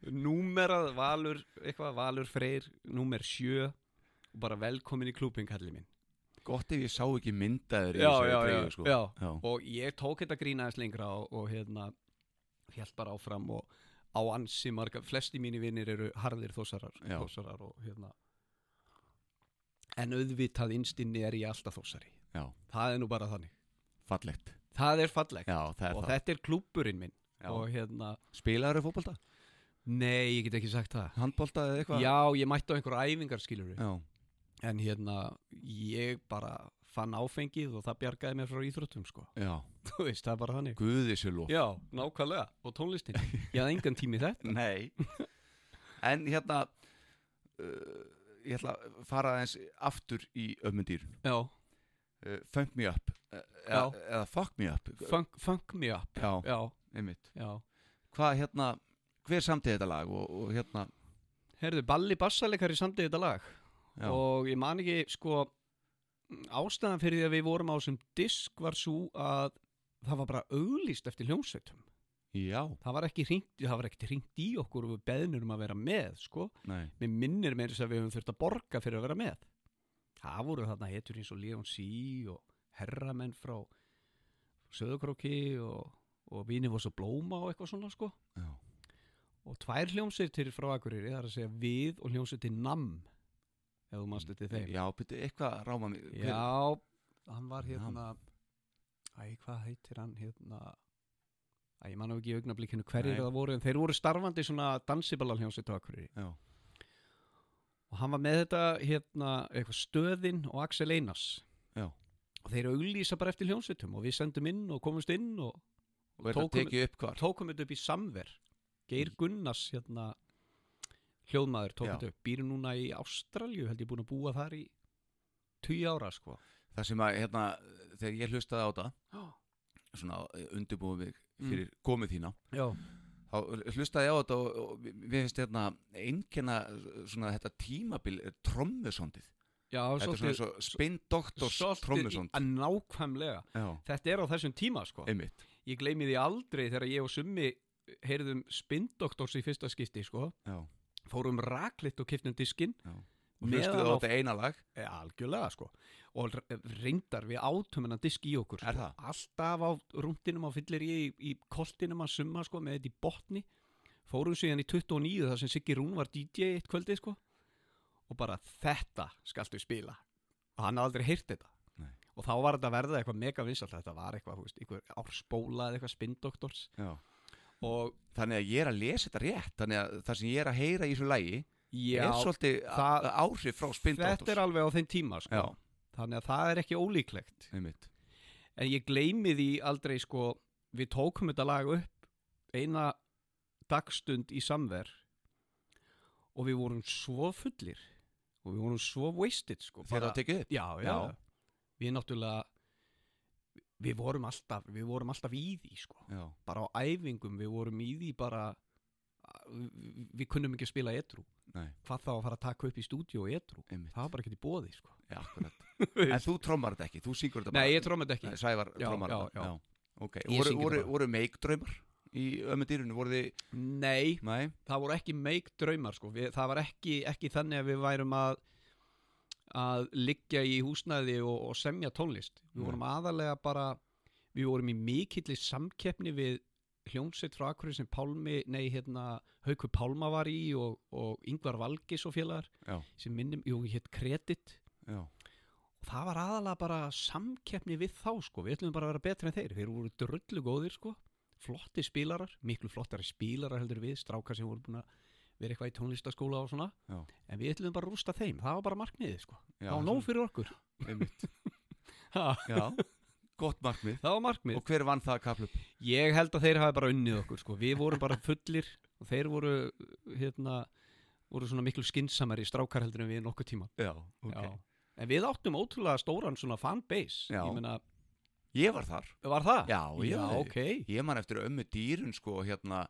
Speaker 4: Númerað valur eitthvað valur freyr, númer sjö og bara velkomin í klúpin kallið minn
Speaker 1: Gott ef ég sá ekki myndaður í
Speaker 4: Já,
Speaker 1: þessari
Speaker 4: já,
Speaker 1: treyju,
Speaker 4: já,
Speaker 1: sko.
Speaker 4: já.
Speaker 1: já.
Speaker 4: og ég tók þetta grín aðeins lengra og, og hérna held bara áfram og á ansi marga, flesti mínu vinnir eru harðir þósarar,
Speaker 1: Já.
Speaker 4: þósarar og hérna en auðvitað innstinni er ég alltaf þósari
Speaker 1: já,
Speaker 4: það er nú bara þannig,
Speaker 1: fallegt
Speaker 4: það er fallegt
Speaker 1: Já, það er
Speaker 4: og
Speaker 1: það
Speaker 4: þetta er klúpurinn minn
Speaker 1: Já.
Speaker 4: og hérna,
Speaker 1: Spilaður fótbolta?
Speaker 4: nei, ég get ekki sagt það
Speaker 1: Handbolta eða eitthvað?
Speaker 4: Já, ég mætti á einhverja æfingar skilur
Speaker 1: já,
Speaker 4: En hérna, ég bara fann áfengið og það bjargaði mér frá íþróttum sko
Speaker 1: já.
Speaker 4: Þú veist, það er bara þannig
Speaker 1: Guði sér lof
Speaker 4: Já, nákvæmlega, og tónlistin Ég hafði engan tími í þetta
Speaker 1: Nei En hérna uh, Ég ætla að fara aðeins aftur í ömmundýrun
Speaker 4: Já,
Speaker 1: uh, Funk me up uh, eða, eða fuck me up
Speaker 4: funk, funk me up
Speaker 1: Já,
Speaker 4: Já,
Speaker 1: einmitt
Speaker 4: já
Speaker 1: Hvað hérna, hver samtíð þetta lag og, og hérna
Speaker 4: Herðu, Balli Bassalekari samdi þetta lag
Speaker 1: já,
Speaker 4: Og ég man ekki, sko Ástæðan fyrir því að við vorum á sem disk var svo að Það var bara auglýst eftir hljómsveitum
Speaker 1: já,
Speaker 4: Það var ekki hringt, það var ekki hringt í okkur og við beðnur um að vera með, sko
Speaker 1: nei
Speaker 4: mér minnir meira þess að við höfum þurft að borga fyrir að vera með það voru þarna hetur eins og Leon C og herramenn frá Söðukróki og, og Vínir voru svo blóma og eitthvað svona sko
Speaker 1: Já,
Speaker 4: og tvær hljómsveitir frá Akureyri það er að segja við og hljómsveitir NAM ef þú mannst þetta þeim
Speaker 1: já byrju, eitthvað ráma mig hver-
Speaker 4: Já, hann var hérna Æ, hvað heitir hann hérna Æ, ég manna ekki í augnablikinu hverjir
Speaker 1: Nei.
Speaker 4: það voru en þeir voru starfandi í svona dansibalaljónsveit á Akureyri
Speaker 1: já,
Speaker 4: og hann var með þetta hérna, eitthvað stöðin og Axel Einars
Speaker 1: já
Speaker 4: og þeir auglýsa bara eftir hljómsveitum og við sendum inn og komumst inn og,
Speaker 1: Og er þetta
Speaker 4: tókum-
Speaker 1: tekið upp hvar?
Speaker 4: tókum þetta upp í samver Geir Gunnars hérna, hljóðmaður tók
Speaker 1: Mm. Já.
Speaker 4: þetta upp býr núna í Ástralju held ég búin að búa þar í 10 ára sko
Speaker 1: Það sem að hérna, þegar
Speaker 4: Mm.
Speaker 1: ég hlustaði á þetta Svona undirbúið mig fyrir komið þína
Speaker 4: já,
Speaker 1: þá hlustaði ég á þetta og, og mér finnst hérna einkenna svona þetta tímabil eh, trommusondið.
Speaker 4: Já,
Speaker 1: Þetta er svona svo spindoktors trommusond.
Speaker 4: að nákvæmlega
Speaker 1: Já,
Speaker 4: Þetta er á þessum tíma sko
Speaker 1: einmitt.
Speaker 4: Ég gleymi því aldrei þegar ég og Summi heyrðum spindoktors í fyrsta skipti sko
Speaker 1: Já,
Speaker 4: Fórum raklitt og kipnum diskin
Speaker 1: já. Og
Speaker 4: Meðan
Speaker 1: hlustaði á
Speaker 4: á-
Speaker 1: þetta eina lag.
Speaker 4: e, Algjörlega sko Og r- reyndar við átum hennan disk í okkur
Speaker 1: Er
Speaker 4: sko.
Speaker 1: það?
Speaker 4: Alltaf á rúndinum á fyllir ég í, í koltinum að Summa sko með þetta í botni Fórum síðan í 29 þar sem Siggi Rún var DJ eitt kvöldi sko Og bara þetta skaltu spila Og hann hafði aldrei heyrt þetta
Speaker 1: Nei.
Speaker 4: Og þá var þetta að verða eitthvað mega vinsalt, þetta var eitthvað, þú veist, eitthvað ársbóla eða eitthvað spindoktors
Speaker 1: Já.
Speaker 4: og
Speaker 1: Þannig að ég er að lesa þetta rétt, þannig að það sem ég er að heyra í þessu lagi
Speaker 4: já,
Speaker 1: er svolítið
Speaker 4: það-
Speaker 1: a- áhrif frá spindoktors.
Speaker 4: þetta er alveg á þeim tíma sko.
Speaker 1: Já,
Speaker 4: þannig að það er ekki ólíklegt
Speaker 1: einmitt.
Speaker 4: en ég gleymi því aldrei sko, við tókum þetta lag upp eina dagstund í samver og við vorum svo fullir og við vorum svo wasted sko,
Speaker 1: Þegar það tekið upp.
Speaker 4: já, já,
Speaker 1: Já.
Speaker 4: við náttúrulega við vorum alltaf, við vorum alltaf í því sko.
Speaker 1: Já,
Speaker 4: bara á æfingum, við vorum í því bara við, við kunnum ekki að spila etru
Speaker 1: nei,
Speaker 4: hvað þá að fara að taka upp í stúdíu og etru
Speaker 1: einmitt.
Speaker 4: það var bara ekki í bóði sko.
Speaker 1: Já, akkurat. en þú trommar þetta ekki, þú syngur þetta bara.
Speaker 4: Nei, ég tróma þetta ekki
Speaker 1: Nei, Sævar
Speaker 4: Já,
Speaker 1: trommar
Speaker 4: já,
Speaker 1: þetta.
Speaker 4: já.
Speaker 1: Ok,
Speaker 4: Ég
Speaker 1: voru,
Speaker 4: syngi
Speaker 1: voru,
Speaker 4: þetta bara.
Speaker 1: voru meikdraumar í ömmendýrinu, voru þið,
Speaker 4: Nei,
Speaker 1: nei,
Speaker 4: það voru ekki meik draumar sko. við, Það var ekki, ekki þannig að við værum að að liggja í húsnæði og, og semja tónlist Við
Speaker 1: Nei.
Speaker 4: vorum aðalega bara við vorum í mikilli samkeppni við hljómsveit frá Akurinn sem Pálmi nei, hérna, Haukur Pálma var í og, og Ingvar Valgis og félagar
Speaker 1: Já.
Speaker 4: sem minnum, jú, hétt Kredit
Speaker 1: já,
Speaker 4: og það var aðalega bara samkeppni við þá sko, við ætlum bara að vera betri en þeir þeir voru drullu góðir sko flotti spílarar, miklu flottari spílarar heldur en við, strákar sem voru búin að vera eitthvað í tónlistaskóla og svona
Speaker 1: Já.
Speaker 4: en við ætlum bara að rústa þeim, það var bara markmiðið sko
Speaker 1: já.
Speaker 4: það var nóg fyrir okkur
Speaker 1: Einmitt,
Speaker 4: ha,
Speaker 1: já, gott markmið.
Speaker 4: það var markmið,
Speaker 1: Og hver vann það kaplup?
Speaker 4: ég held að þeir hafi bara unnið okkur sko, við vorum bara fullir og þeir voru hérna, voru svona miklu skinsamari strákar heldur en við nokkuð tíma
Speaker 1: Já, ok.
Speaker 4: en við áttum ótrúlega stóran svona fanbase
Speaker 1: Já.
Speaker 4: ég meina,
Speaker 1: Ég var þar.
Speaker 4: var það?
Speaker 1: Já, ég
Speaker 4: Ah, já,
Speaker 1: var þar.
Speaker 4: ok
Speaker 1: Ég man eftir ömmu dýrun sko hérna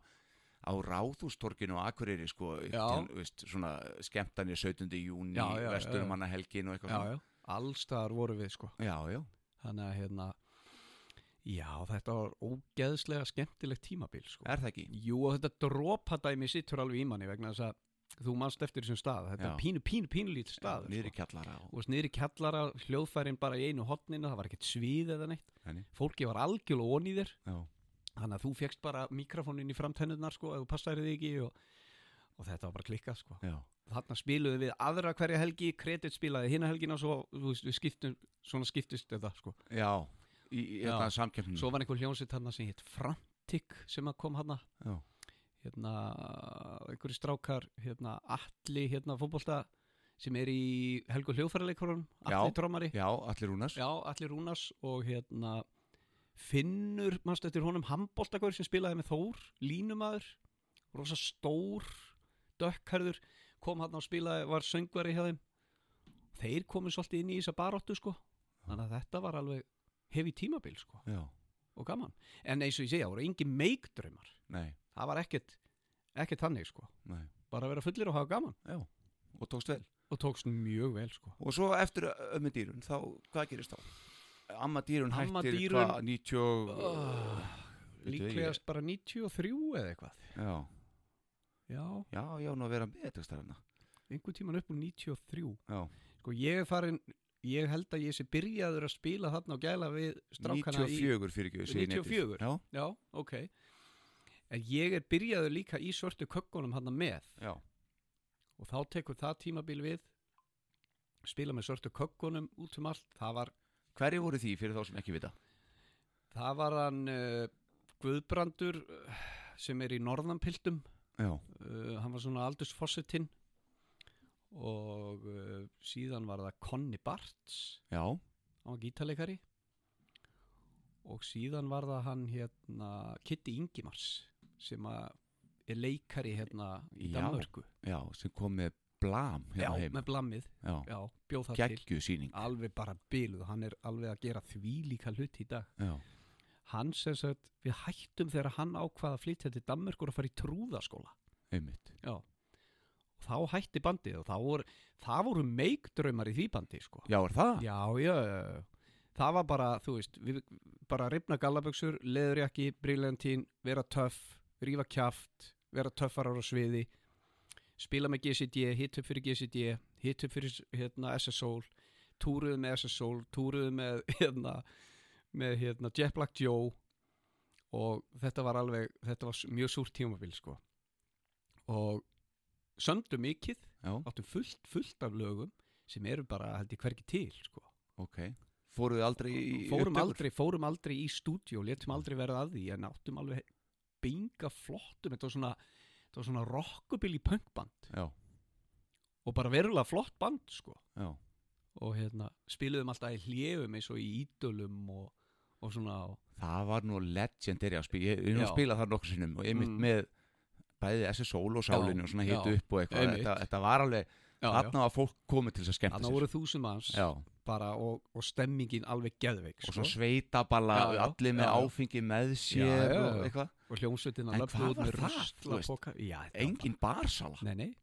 Speaker 1: á Ráðhústorkinu og Akureyri sko, upp
Speaker 4: Já.
Speaker 1: til, veist, svona skemmtanir 17. júni,
Speaker 4: Já, já, já, já.
Speaker 1: vesturumanna helgin og eitthvað
Speaker 4: já,
Speaker 1: svona.
Speaker 4: já. alls þar voru sko. við sko
Speaker 1: Já, já,
Speaker 4: þannig að hérna já þetta var ógeðslega skemmtilegt tímabil sko
Speaker 1: er það ekki?
Speaker 4: jú og þetta dropadæmi sittur alveg í manni vegna þess að þú manst eftir þessum stað þetta
Speaker 1: Já.
Speaker 4: er pínu pínu pínu lítið stað
Speaker 1: Niður í
Speaker 4: sko.
Speaker 1: kjallara og...
Speaker 4: og veist, niður í kjallara hljóðfærin bara í einu hotninu það var ekkert svið eða neitt
Speaker 1: Nei, nei.
Speaker 4: fólki var algjörlega ón í þér
Speaker 1: Já,
Speaker 4: þannig að þú fegst bara mikrofónin í framtennurnar sko ef þú passaði þig ekki og, og þetta var bara klikkað sko
Speaker 1: já,
Speaker 4: þarna spiluðu við aðra hverja helgi kredit spilaði hina helgina og svo þú veist, við skiptum, svona skiptist þetta sko.
Speaker 1: já, í, í hérna,
Speaker 4: Já.
Speaker 1: þetta samkeppnum.
Speaker 4: svo var einhver hljónsitt þarna sem hétt Frantic sem að kom hana
Speaker 1: Já.
Speaker 4: hérna, einhverju strákar hérna, Atli, hérna fótbolta sem er í Helgu hljóðfæraleikurunum
Speaker 1: Já.
Speaker 4: Atli Trommari,
Speaker 1: Já, allir rúnars.
Speaker 4: já, Atli Rúnas og hérna Finnur, mannstu eftir honum handbóltakur sem spilaði með Þór, línumadur rosa stór dökkarður, kom hann og spilaði var söngvari hjá þeim þeir komu svolítið inn í þessa baróttu sko þannig að þetta var alveg hefi tímabil sko
Speaker 1: Já,
Speaker 4: og gaman, en eins og ég segja, það voru engin meikdraumar,
Speaker 1: nei,
Speaker 4: það var ekkert ekkert þannig sko,
Speaker 1: nei,
Speaker 4: bara að vera fullir og hafa gaman
Speaker 1: já, og tókst vel.
Speaker 4: og tókst mjög vel sko
Speaker 1: Og svo eftir ömmu dýrun, þá, hvað gerist þá? Amma dýrun hættir,
Speaker 4: Amma Dýrun-
Speaker 1: hvað, 90 og... Veitu, ég-
Speaker 4: Ah, líklegast bara 93 eða eitthvað
Speaker 1: Já,
Speaker 4: já,
Speaker 1: já, já, nú að vera með þetta stærna.
Speaker 4: einhvern tíman upp úr 93
Speaker 1: Já,
Speaker 4: sko ég er farin ég held að ég sé byrjaður að spila þarna og gæla við strákana
Speaker 1: 94 fyrir ekki, Já,
Speaker 4: 94? í já, ok en ég er byrjaður líka í svörtu kökkunum hann með
Speaker 1: já,
Speaker 4: og þá tekur það tímabil við spila með svörtu kökkunum út um allt það var,
Speaker 1: hverju voru því fyrir þá sem ekki vita?
Speaker 4: það var hann uh, Guðbrandur uh, sem er í norðanpiltum
Speaker 1: Já,
Speaker 4: uh, hann var svona aldursfossetinn og uh, síðan var það Conny Bartz
Speaker 1: já,
Speaker 4: hann var gítarleikari og síðan var það hann hérna Kitty Ingimars sem að er leikari hérna í
Speaker 1: Já,
Speaker 4: Danmörku
Speaker 1: já, sem kom með blam hérna
Speaker 4: já,
Speaker 1: heim.
Speaker 4: með blammið,
Speaker 1: Já,
Speaker 4: já, bjóð það
Speaker 1: geggju síning.
Speaker 4: til alveg bara byluð, hann er alveg að gera því líka hlut í dag
Speaker 1: Já,
Speaker 4: hann sem sagt, við hættum þegar hann ákvað að flytja til Danmerkur að fara í trúðaskóla
Speaker 1: einmitt.
Speaker 4: já og þá hætti bandið og þá voru, það voru meikdraumar í því bandi sko
Speaker 1: Já, er það?
Speaker 4: já, já, já, já. það var bara, þú veist við, bara ripna gallaböksur, leðurjakki briljantín, vera töff rífa kjaft, vera töffarar á sviði spila með GCD hit upp fyrir GCD, hit upp fyrir hérna, SSOL, túruðu með SSOL túruðu með hérna, með hérna, Jet Black Joe og þetta var alveg þetta var s- mjög súrt tímabil sko og sömdu mikið
Speaker 1: Já,
Speaker 4: áttum fullt, fullt af lögum sem eru bara, held ég, hvergi til sko.
Speaker 1: ok. Fóruðu aldrei í
Speaker 4: fórum,
Speaker 1: upptökur?
Speaker 4: aldrei, fórum aldrei í stúdíó létum aldrei verða að því, en áttum alveg binga flottum, þetta var svona þetta var svona rockabilly punkband
Speaker 1: Já,
Speaker 4: og bara verulega flott band, sko
Speaker 1: já,
Speaker 4: og hérna, spiluðum alltaf í hljefum eins og í ídölum og, og svona og,
Speaker 1: það var nú legendary að spila, ég, ég nú
Speaker 4: Já.
Speaker 1: spila það nokkur sinnum og einmitt
Speaker 4: Mm.
Speaker 1: með bæði þessi sól og sálinni
Speaker 4: Já,
Speaker 1: og svona
Speaker 4: já,
Speaker 1: hitu upp og eitthvað,
Speaker 4: einmitt.
Speaker 1: þetta, þetta var alveg,
Speaker 4: já,
Speaker 1: þarna var fólk komið til þess að skemmta
Speaker 4: þannig
Speaker 1: sér.
Speaker 4: voru þúsund manns
Speaker 1: Já,
Speaker 4: bara og, og stemmingin alveg geðveik,
Speaker 1: og
Speaker 4: sko
Speaker 1: svo sveitaballa,
Speaker 4: Já, já,
Speaker 1: allir með
Speaker 4: já, já.
Speaker 1: áfengi með sér
Speaker 4: já, já.
Speaker 1: og eitthvað.
Speaker 4: og hljómsveitina
Speaker 1: En
Speaker 4: löfðu
Speaker 1: hvað
Speaker 4: út
Speaker 1: var
Speaker 4: með
Speaker 1: það, þú
Speaker 4: rusla
Speaker 1: veist?
Speaker 4: poka- já, þetta var
Speaker 1: Engin barsala.
Speaker 4: bara- nei, nei,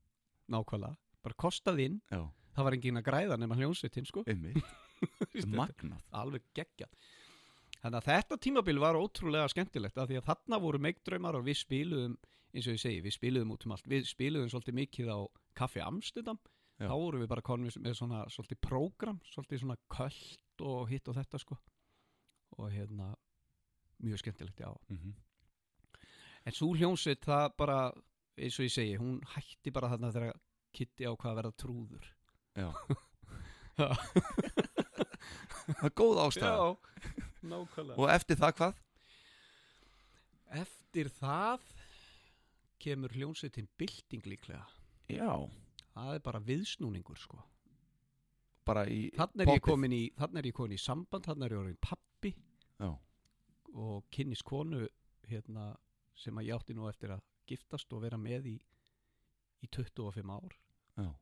Speaker 4: nákvæmlega, bara kostað inn
Speaker 1: Já,
Speaker 4: það var engin að græða nema hljónsveitin sko
Speaker 1: einmitt, magnað.
Speaker 4: alveg geggjað þannig að þetta tímabil var ótrúlega skemmtilegt af því að þarna voru meikdraumar og við spiluðum eins og ég segi, við spiluðum út um allt við spiluðum svolítið mikið á Kaffi Amstendam
Speaker 1: Já.
Speaker 4: þá vorum við bara konum með svona svolítið prógram, svolítið svona köld og hitt og þetta sko og hérna mjög skemmtilegt já
Speaker 1: Mm
Speaker 4: en svo hljónsveit það bara eins og ég segi, hún hætti bara þarna þegar Kitty á hvað að verða trúður
Speaker 1: Það er góð ástæða.
Speaker 4: nákvæmlega
Speaker 1: Og eftir það hvað?
Speaker 4: Eftir það kemur hljónsveitin bylting líklega.
Speaker 1: Já,
Speaker 4: Það er bara viðsnúningur sko.
Speaker 1: bara í
Speaker 4: Þannig er, ég
Speaker 1: Poppið.
Speaker 4: komin í, þannig er ég komin í samband, þannig er ég orðin pappi
Speaker 1: Já.
Speaker 4: og kynnist konu hérna, sem að ég átti nú eftir að giftast og vera með í, í 25 ár
Speaker 1: Já.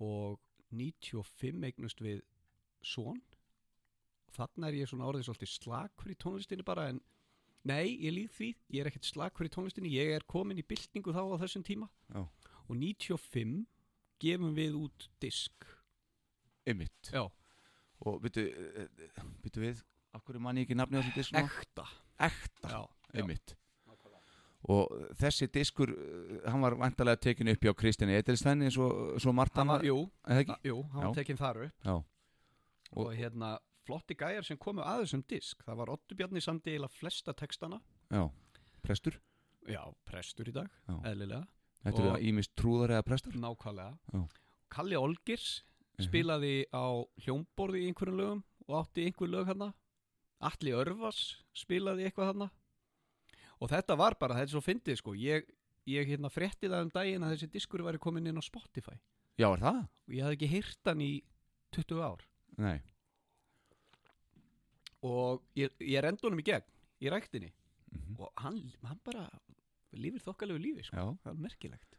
Speaker 4: og 95 eignust við son. Þannig er ég svona orðið svolítið slakur í tónlistinni bara en nei, ég líð því, ég er ekkert slakur í tónlistinni, ég er komin í byltingu þá á þessum tíma
Speaker 1: Já.
Speaker 4: og 95 gefum við út disk.
Speaker 1: Einmitt.
Speaker 4: Já.
Speaker 1: Og byrju, eh, eh, byrju við, af hverju mann ég ekki nafnið á þessu disk núna?
Speaker 4: Ekta.
Speaker 1: Ekta.
Speaker 4: Já,
Speaker 1: Einmitt. Og þessi diskur, eh, hann var vantarlega tekinu upp hjá Kristjani Edelstein eins og svo margt
Speaker 4: Hann var,
Speaker 1: annað,
Speaker 4: jú,
Speaker 1: er það ekki?
Speaker 4: jú, hann var
Speaker 1: Já.
Speaker 4: tekinn þar upp
Speaker 1: Já.
Speaker 4: og, hérna flotti gæjar sem komu að þessum disk. Það var Ottu Bjarni samt eila flesta textana.
Speaker 1: Já. Prestur?
Speaker 4: Já, prestur í dag,
Speaker 1: Já.
Speaker 4: eðlilega,
Speaker 1: Þetta
Speaker 4: Og-
Speaker 1: er ímist trúðar eða prestur?
Speaker 4: nákvæmlega.
Speaker 1: Já.
Speaker 4: Kalli Olgirs
Speaker 1: Mhm.
Speaker 4: spilaði á hljómborði í einhverjum lögum og átti einhver lög hana. Alli Örvas spilaði eitthvað hana. Og þetta var bara, þetta er svo fyndið sko, ég, ég hérna frétti það um daginn að þessi diskur væri komin inn á Spotify.
Speaker 1: Já, er það?
Speaker 4: og ég hafði ekki heyrt hann í 20 ár
Speaker 1: Nei.
Speaker 4: og ég, ég rendi honum í gegn í ræktinni
Speaker 1: Mhm.
Speaker 4: og hann, hann bara lífir þokkalegu lífi sko.
Speaker 1: Já.
Speaker 4: það er merkilegt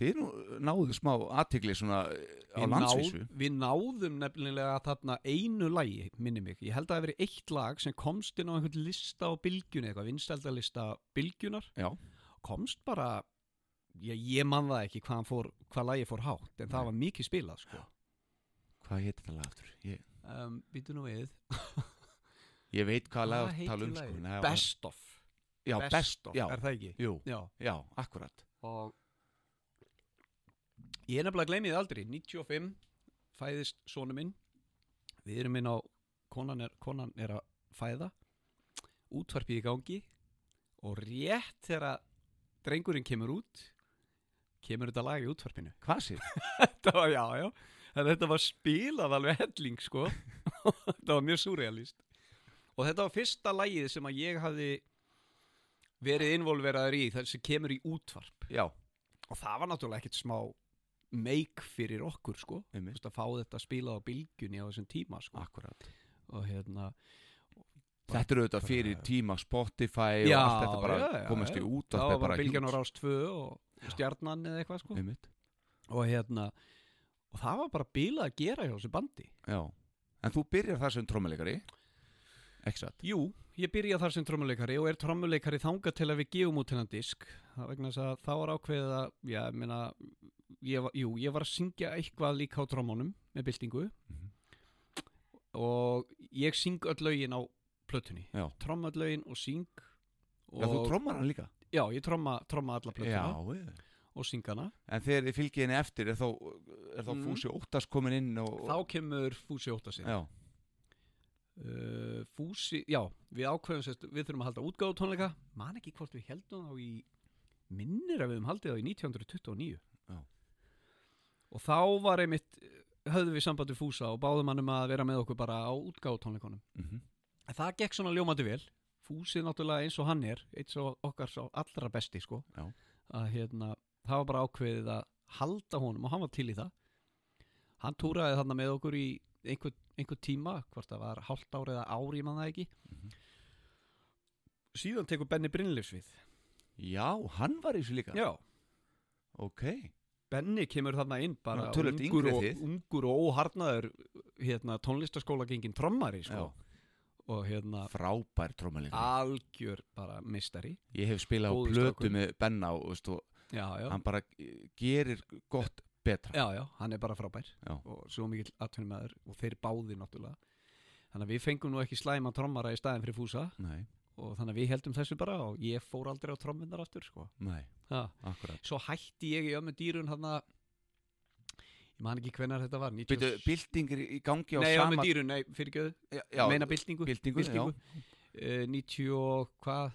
Speaker 1: Þið nú eh, náðu smá aðtigli svona eh, á
Speaker 4: við,
Speaker 1: landsvísu.
Speaker 4: við náðum nefnilega þarna einu lagi, minni mig ég held að það hafi verið eitt lag sem komst inn á einhvern lista á bylgjunni, eitthvað vinstældalista bylgjunar,
Speaker 1: Já.
Speaker 4: komst bara ég, ég man það ekki hvað, hann fór, hvað lagi fór hátt, en það
Speaker 1: Nei.
Speaker 4: var mikið spilað sko.
Speaker 1: Hvað heitir það lag aftur? Ég,
Speaker 4: um, býtu nú við
Speaker 1: ég veit hvað lag
Speaker 4: Hvað
Speaker 1: að tala um
Speaker 4: heitir
Speaker 1: sko.
Speaker 4: lagið?
Speaker 1: Nei,
Speaker 4: Best of,
Speaker 1: Já,
Speaker 4: Best
Speaker 1: best.
Speaker 4: of.
Speaker 1: Já,
Speaker 4: er það ekki?
Speaker 1: jú.
Speaker 4: Já.
Speaker 1: Já, akkurat.
Speaker 4: og ég er nefnilega að gleymi þið aldrei 95 fæðist sonu minn við erum inn á konan er, konan er að fæða útvarpið í gangi og rétt þegar að drengurinn kemur út kemur þetta lag í útvarpinu
Speaker 1: Hvað sér?
Speaker 4: þetta var, já, já, en þetta var spilað alveg helling sko þetta var mjög surrealist og þetta var fyrsta lagið sem að ég hafði verið involveraður í þessi kemur í útvarp
Speaker 1: Já,
Speaker 4: og það var náttúrulega ekkert smá meik fyrir okkur sko Þú
Speaker 1: einmitt.
Speaker 4: veist, að fá þetta spilað á bylgjunni á þessum tíma sko.
Speaker 1: Akkurat.
Speaker 4: og hérna
Speaker 1: Þetta eru auðvitað fyrir tíma Spotify og
Speaker 4: Já,
Speaker 1: allt þetta bara
Speaker 4: já, já,
Speaker 1: komast í
Speaker 4: já.
Speaker 1: út
Speaker 4: það
Speaker 1: allt
Speaker 4: var
Speaker 1: er
Speaker 4: bara bylgjan á
Speaker 1: hjúts.
Speaker 4: rás 2 og stjarnan eða eitthvað sko
Speaker 1: Einmitt.
Speaker 4: og hérna og það var bara bilað að gera hjá þessu bandi
Speaker 1: Já. En þú byrjar þar sem trommelikari ekki satt?
Speaker 4: Jú, ég byrja þar sem trommuleikari og er trommuleikari þanga til að við gefum út hennan disk Það vegna þess að þá var ákveðið að, já, ég meina, ég, var- jú, ég var að syngja eitthvað líka á trommunum með byltingu
Speaker 1: Mhm.
Speaker 4: og ég syng öll lögin á plötunni
Speaker 1: Já.
Speaker 4: Tromm öll lögin og syng og,
Speaker 1: Já, þú trommar hann líka?
Speaker 4: Já, ég tromma, tromma alla plötuna
Speaker 1: já.
Speaker 4: og syng hana
Speaker 1: En þegar þið fylgið henni eftir, er þá, er þá
Speaker 4: Mm.
Speaker 1: Fúsi Óttars komin inn og...
Speaker 4: Þá kemur Fúsi Óttasinn
Speaker 1: Já,
Speaker 4: uh, Fúsi, já, við ákveðum sérst, við þurfum að halda útgáðu tónleika man ekki hvort við heldum þá í minnir að við höfum haldið þá í 1929
Speaker 1: Já.
Speaker 4: og þá var einmitt höfðum við sambandi Fúsa og báðum hann um að vera með okkur bara á útgáðu tónleikunum
Speaker 1: mm
Speaker 4: en það gekk svona ljómandi vel Fúsi náttúrulega eins og hann er eins og okkar sá allra besti sko
Speaker 1: Já.
Speaker 4: að hérna, það var bara ákveðið að halda honum og hann var til í það hann túraði þarna með okkur í einhver, einhver tíma, hvort það var hálft ár eða ár, ég man það ekki
Speaker 1: Mhm.
Speaker 4: síðan tekur Benni Brynlifs við
Speaker 1: já, hann var í þessu líka.
Speaker 4: já,
Speaker 1: Ok,
Speaker 4: Benni kemur þarna inn bara
Speaker 1: Já, töluvert
Speaker 4: ungur
Speaker 1: yngri
Speaker 4: og,
Speaker 1: þið.
Speaker 4: ungur og óharnaður hérna, tónlistaskóla gengin trommari sko. og hérna
Speaker 1: frábær trommalíka.
Speaker 4: algjör bara mistari
Speaker 1: Ég hef spilað á
Speaker 4: Góður
Speaker 1: plötu
Speaker 4: strákur.
Speaker 1: með Benna og, veist, og
Speaker 4: já, já,
Speaker 1: hann bara eh, gerir gott betra.
Speaker 4: já, já, hann er bara frábær
Speaker 1: Já.
Speaker 4: og svo mikill atvinnumæður og þeir báðir náttúrulega þannig að við fengum nú ekki slæma trommara í staðin fyrir fúsa
Speaker 1: Nei,
Speaker 4: og þannig að við heldum þessu bara og ég fór aldrei á trommunar aftur sko.
Speaker 1: nei,
Speaker 4: Ha.
Speaker 1: akkurat.
Speaker 4: svo hætti ég í ömmu dýrun hann að ég man ekki hvenær þetta var 90
Speaker 1: Býtu, byltingir í gangi á
Speaker 4: nei,
Speaker 1: sama...
Speaker 4: ömmu dýrun, nei, fyrir göðu
Speaker 1: Já, já,
Speaker 4: meina byltingu,
Speaker 1: byltingu, já.
Speaker 4: Eh, 90 og hvað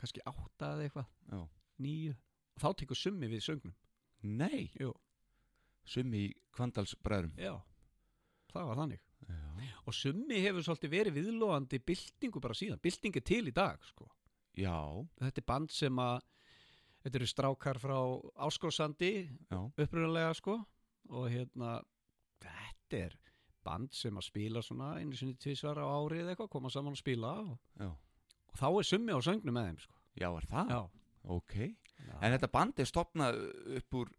Speaker 4: kannski 8 eða eitthvað
Speaker 1: Já.
Speaker 4: 9, þá tekur summi við söngnum
Speaker 1: Nei,
Speaker 4: Jú.
Speaker 1: summi í Kvandalsbræðrum.
Speaker 4: já, það var þannig
Speaker 1: Já.
Speaker 4: og summi hefur svolítið verið viðlóðandi byltingu bara síðan, bylting er til í dag sko.
Speaker 1: já,
Speaker 4: þetta er band sem að þetta eru strákar frá Áskósandi
Speaker 1: já,
Speaker 4: upprunalega sko og hérna þetta er band sem að spila svona einu sinni tvisvar á ári eða eitthvað koma saman og spila og,
Speaker 1: já.
Speaker 4: og þá er summi á söngnum með þeim sko
Speaker 1: Já, er það?
Speaker 4: já,
Speaker 1: Ok. En þetta band er stopnað upp úr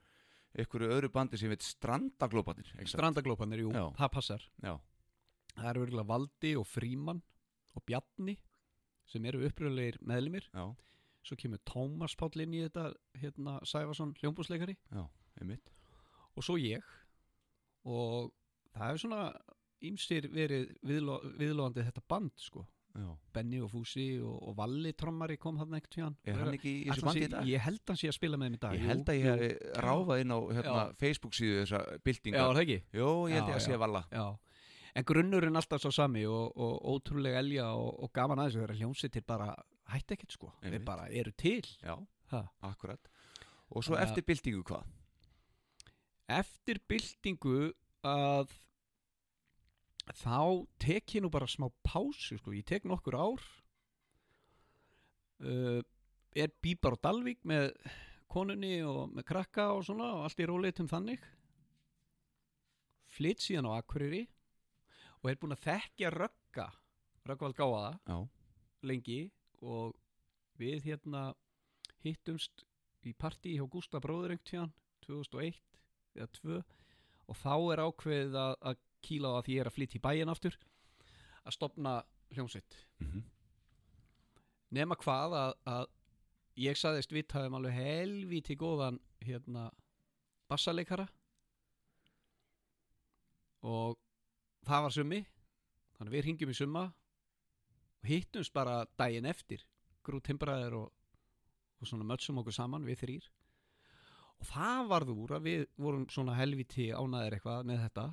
Speaker 1: einhverju öðru bandi sem heit Strandaglópanir. ekki satt?
Speaker 4: strandaglópanir, jú,
Speaker 1: Já.
Speaker 4: það passar
Speaker 1: Já,
Speaker 4: það eru virkulega Valdi og Fríman og Bjarni sem eru upprunalegir meðlumir
Speaker 1: já,
Speaker 4: svo kemur Tómas Páll inn í þetta hérna Sæfarsson hljómbúsleikari
Speaker 1: einmitt.
Speaker 4: og svo ég og það hefur svona ýmsir verið viðló, viðlóðandi þetta band sko
Speaker 1: Já.
Speaker 4: Benny og Fúsi og, og Valli trommari kom þarna ekkert hjá hann
Speaker 1: Er hann ekki í þessu
Speaker 4: Ætli hann
Speaker 1: bandi
Speaker 4: sé-
Speaker 1: í dag?
Speaker 4: Ég held hann sé að spila með þeim í dag
Speaker 1: Ég held að ég hefði ráfað inn á hérna,
Speaker 4: Já.
Speaker 1: Facebook síðu þessa
Speaker 4: Já, er
Speaker 1: byltingar.
Speaker 4: það ekki?
Speaker 1: Jó, ég held
Speaker 4: Já,
Speaker 1: ég að
Speaker 4: já.
Speaker 1: sé valla.
Speaker 4: Já En grunnurinn alltaf svo sami og, og ótrúlega elja og, og gaman aðeins þegar hljómsveitir bara hætti ekkert sko Þeir
Speaker 1: Einmitt.
Speaker 4: bara eru til
Speaker 1: Já,
Speaker 4: ha.
Speaker 1: akkurat. Og svo
Speaker 4: Þannig að-
Speaker 1: eftir byltingu hvað?
Speaker 4: eftir byltingu að þá tek ég nú bara smá pásu sko. ég tek nokkur ár uh, er bíbar og dalvík með konunni og með krakka og svona og allt í róleitum þannig flytt síðan á Akureyri og er búin að þekkja rögga röggvald gáða
Speaker 1: Já,
Speaker 4: lengi og við hérna hittumst í partí hjá Gústa bróður einhvern tíðan 2001 eða 2 og þá er ákveðið að, að kýla á að því ég er að flytja í bæin aftur að stopna hljómsveit
Speaker 1: Mhm.
Speaker 4: nema hvað að, að ég saðist vitaðum alveg helvíti góðan hérna bassaleikara og það var summi þannig að við ringjum í summa og hittumst bara daginn eftir grútimbraðir og, og svona mötsum okkur saman við þrýr og það varð úr að við vorum svona helviti ánæðir eitthvað með þetta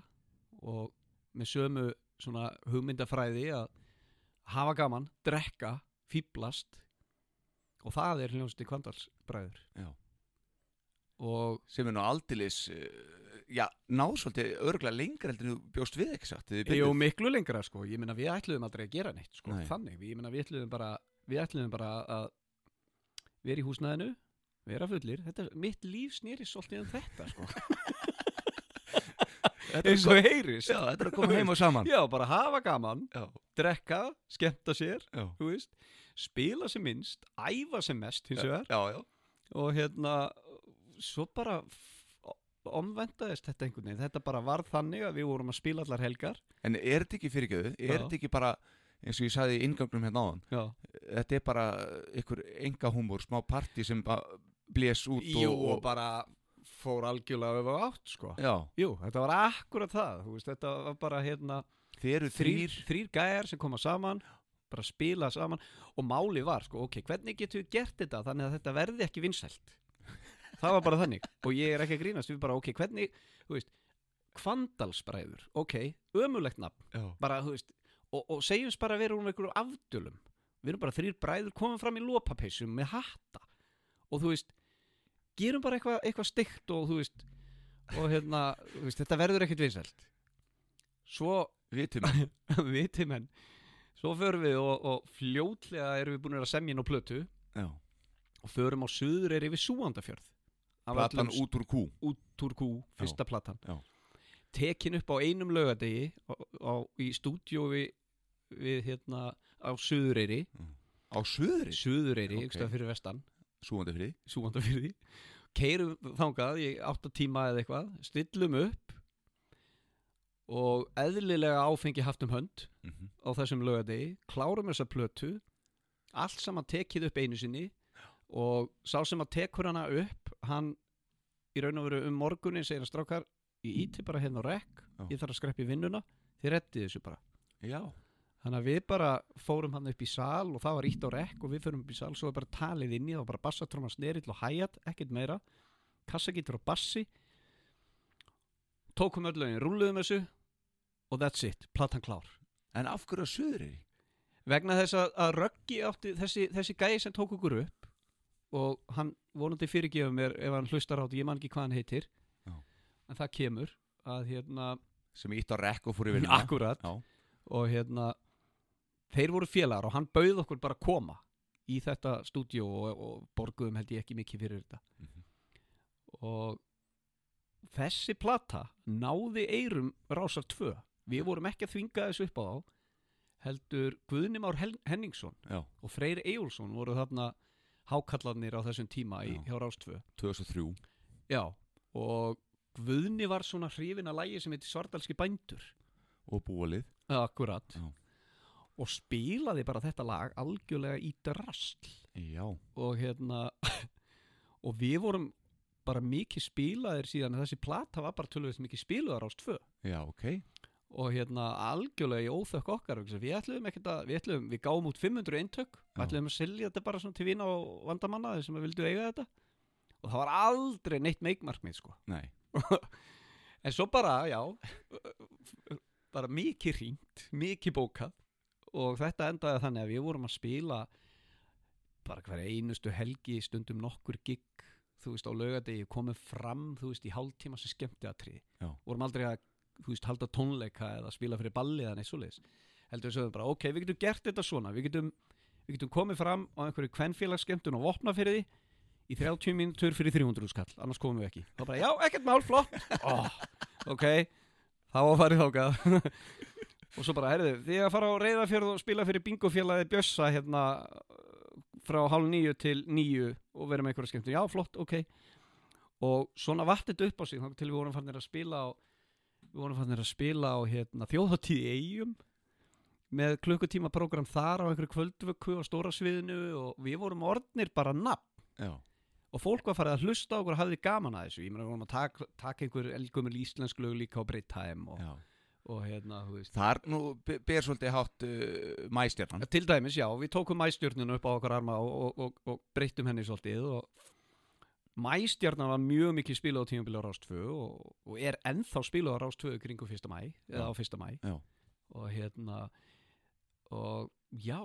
Speaker 4: og með sömu svona hugmyndafræði að hafa gaman, drekka fýblast og það er hljónsti kvandalsbræður
Speaker 1: Já.
Speaker 4: og
Speaker 1: sem er nú aldeilis, uh, já, náð svolítið örgla lengra heldur en þú bjóst við ekki satt. þið þið
Speaker 4: Jó,
Speaker 1: byrjuð.
Speaker 4: miklu lengra sko, ég meina við ætluðum aldrei að gera neitt sko,
Speaker 1: Nei.
Speaker 4: þannig, Við- ég meina við ætluðum bara við ætluðum bara að vera í húsnaðinu, vera fullir þetta, mitt líf snýri svolítið um þetta sko,
Speaker 1: Þetta er
Speaker 4: eins og heyrist
Speaker 1: Já, þetta er að koma heim og saman.
Speaker 4: Já, bara hafa gaman,
Speaker 1: Já.
Speaker 4: drekka skemmta sér,
Speaker 1: Já.
Speaker 4: þú veist spila sem minnst, æfa sem mest hins vegar,
Speaker 1: Já, já.
Speaker 4: og hérna svo bara f- omvendaðist þetta einhvern veginn, þetta bara varð þannig að við vorum að spila allar helgar
Speaker 1: En er þetta ekki fyrirgjöðu? Er
Speaker 4: Já.
Speaker 1: þetta ekki bara, eins og ég sagði í ingangnum hérna áðan
Speaker 4: já.
Speaker 1: þetta er bara ykkur enga húmor, smá party sem bara blés út
Speaker 4: Jú,
Speaker 1: og,
Speaker 4: og bara fór algjörlega öfu átt sko
Speaker 1: Já,
Speaker 4: Jú, þetta var akkurat það þú veist, þetta var bara hérna
Speaker 1: þeir eru
Speaker 4: þrýr,
Speaker 1: þrýr
Speaker 4: þrýr gæjar sem koma saman bara spila saman og máli var sko, ok, hvernig getum við gert þetta þannig að þetta verði ekki vinsælt það var bara þannig og ég er ekki að grínast við bara, ok, hvernig, þú veist kvandalsbræður, ok, ömulegt nafn
Speaker 1: Já.
Speaker 4: bara, þú veist og, og segjumst bara að vera um einhverjum afdölum við erum bara þrýr bræður komum fram í lópapeysum með hatta og þú veist, gerum bara eitthvað eitthva steikt og þú veist og hérna, þú veist, þetta verður ekkit vinsælt svo
Speaker 1: vitum
Speaker 4: viti menn svo förum við og, og fljótlega erum við búin að semja inn á plötu
Speaker 1: Já.
Speaker 4: og förum á suður er yfir súandafjörð af
Speaker 1: platan
Speaker 4: öllum s-
Speaker 1: út úr kú
Speaker 4: út úr kú, fyrsta platan
Speaker 1: já.
Speaker 4: tekin upp á einum laugadegi á, á, í stúdíó við, við hérna á Suðureyri
Speaker 1: á söðri Ok.
Speaker 4: Suðureyri, okay. einhverstað fyrir vestan
Speaker 1: súandi fyrir
Speaker 4: Súandafjörði keirum þangað í 8 tíma eða eitthvað, stillum upp og eðlilega áfengi haft um hönd
Speaker 1: mm -hmm.
Speaker 4: á þessum lögadegi, klárum þessa plötu allt saman tekið upp einu sinni og sá sem að tekur hana upp hann í raun og veru um morgunin segir hann strákar ég íti bara hérna á rekk,
Speaker 1: Já.
Speaker 4: ég þarf að skreppa í vinnuna þið rettið þessu bara
Speaker 1: Já,
Speaker 4: þannig að við bara fórum hann upp í sal og það var ítt á rekk og við fórum upp í sal svo er bara talið inn í það var bara bassatróma snerill og hæjat, ekkert meira kassagítur og bassi tókum öll lögin, rúluðum þessu og that's it, platan klár
Speaker 1: en af hverju á söðri?
Speaker 4: vegna þess að, að Röggi átti þessi, þessi gæi sem tók okkur upp og hann vonandi fyrirgefur mér ef hann hlustar á þetta, ég man ekki hvað hann heitir
Speaker 1: Já.
Speaker 4: en það kemur að hérna,
Speaker 1: sem ítt á rekk og fór yfir
Speaker 4: akkurat
Speaker 1: Já.
Speaker 4: og hérna þeir voru félagar og hann bauð okkur bara að koma í þetta stúdíó og, og borguðum held ég ekki mikið fyrir þetta
Speaker 1: Mhm.
Speaker 4: og þessi plata náði eirum rásar 2 við vorum ekki að þvinga þessu upp á þá heldur Guðnimár Henningsson
Speaker 1: Já,
Speaker 4: og Freyr Eyjúlsson voru þarna hákallarnir á þessum tíma í,
Speaker 1: Já.
Speaker 4: hjá Rástvö
Speaker 1: 2003
Speaker 4: Já, og Guðni var svona hrifin að lægi sem heitir Svartalski bændur
Speaker 1: og búalið
Speaker 4: Akkurat
Speaker 1: Já.
Speaker 4: Og spilaði bara þetta lag algjörlega í drastl
Speaker 1: Já,
Speaker 4: og hérna og við vorum bara mikið spilaðir síðan þessi plata var bara tölvöld mikið spilaðar á Rástvö
Speaker 1: já, ok
Speaker 4: og hérna algjörlega í óþökk okkar vegna þess að við ætluðum ekkert að, við ætluðum, við gáum út 500 eintök,
Speaker 1: Já.
Speaker 4: við ætluðum að selja þetta bara svona til vina og vandamanna þeir sem að vildu eiga þetta og það var aldrei neitt meikmarkmið sko
Speaker 1: Nei,
Speaker 4: en svo bara, já bara mikið hringt, mikið bókað og þetta endaði þannig að við vorum að spila bara hver einustu helgi stundum nokkur gig þú veist á laugardegi komum fram þú veist í hálftíma sem skemmti að
Speaker 1: Já.
Speaker 4: vorum aldrei að þú veist halda tónleika eða spila fyrir balli eða neitt svoleiðis heldur við sögum bara ok við getum gert þetta svona við getum, við getum komið fram á einhverju kvenfélagsskemmtun og vopna fyrir því í 30 mínútur fyrir 300 skall annars komum við ekki þá bara já ekkert mál flott oh, ok þá var farið þákað og svo bara herðu því að fara á reyðafjörð og spila fyrir bingofélagi Bjössa hérna frá hálf nýju til nýju og vera með einhverja skemmtun já flott ok og svona vatt þetta upp á sig þá til við vorum fannir að spila á við vorum fannir að spila á hérna, þjóðháttíð í eigum með klukkutíma program þar á einhverju kvöldvöku á stóra sviðinu og við vorum orðnir bara nafn
Speaker 1: já,
Speaker 4: og fólk var farið að hlusta á okkur og hafði gaman að þessu ég meina við vorum að taka, taka einhver elgumil íslensk lög líka á Breytheim og,
Speaker 1: já
Speaker 4: og hérna, þú veist
Speaker 1: Þar nú be- ber svolítið hátt uh, mæstjarnan
Speaker 4: Til dæmis, já, við tókum mæstjörnuna upp á okkar arma og, og, og, og breyttum henni svolítið og mæstjörnan var mjög mikið spilað á tímabili á Rást 2 og, og er ennþá spilað á Rást 2 kringu 1. mæ, eða á 1. mæ
Speaker 1: Já.
Speaker 4: og hérna og já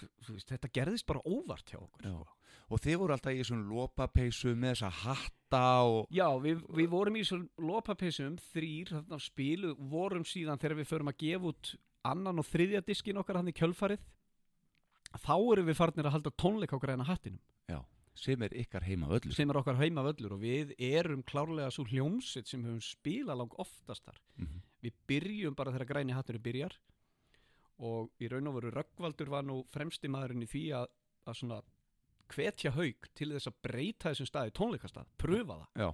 Speaker 4: þú- þú veist, þetta gerðist bara óvart hjá okkur
Speaker 1: Já.
Speaker 4: sko.
Speaker 1: og þið voru alltaf í svona lopapeysu með þessa hatta og
Speaker 4: Já, við, við vorum í svo lopapissum þrýr þarna á spilu, vorum síðan þegar við förum að gefa út annan og þriðja diskin okkar hann í kjölfarið þá erum við farnir að halda tónleik okkar en að hattinum,
Speaker 1: sem er ykkar heima öllu
Speaker 4: sem er okkar heima völlur og við erum klárlega svo hljómsitt sem höfum spilað lang oftast þar
Speaker 1: Mhm.
Speaker 4: við byrjum bara þegar græni hatturinn byrjar og í raun og veru Röggvaldur var nú fremsti maðurinn í því að, að svona hvetja haug til þess að breyta þessum staði í tónleikastað, pröfa það
Speaker 1: Já,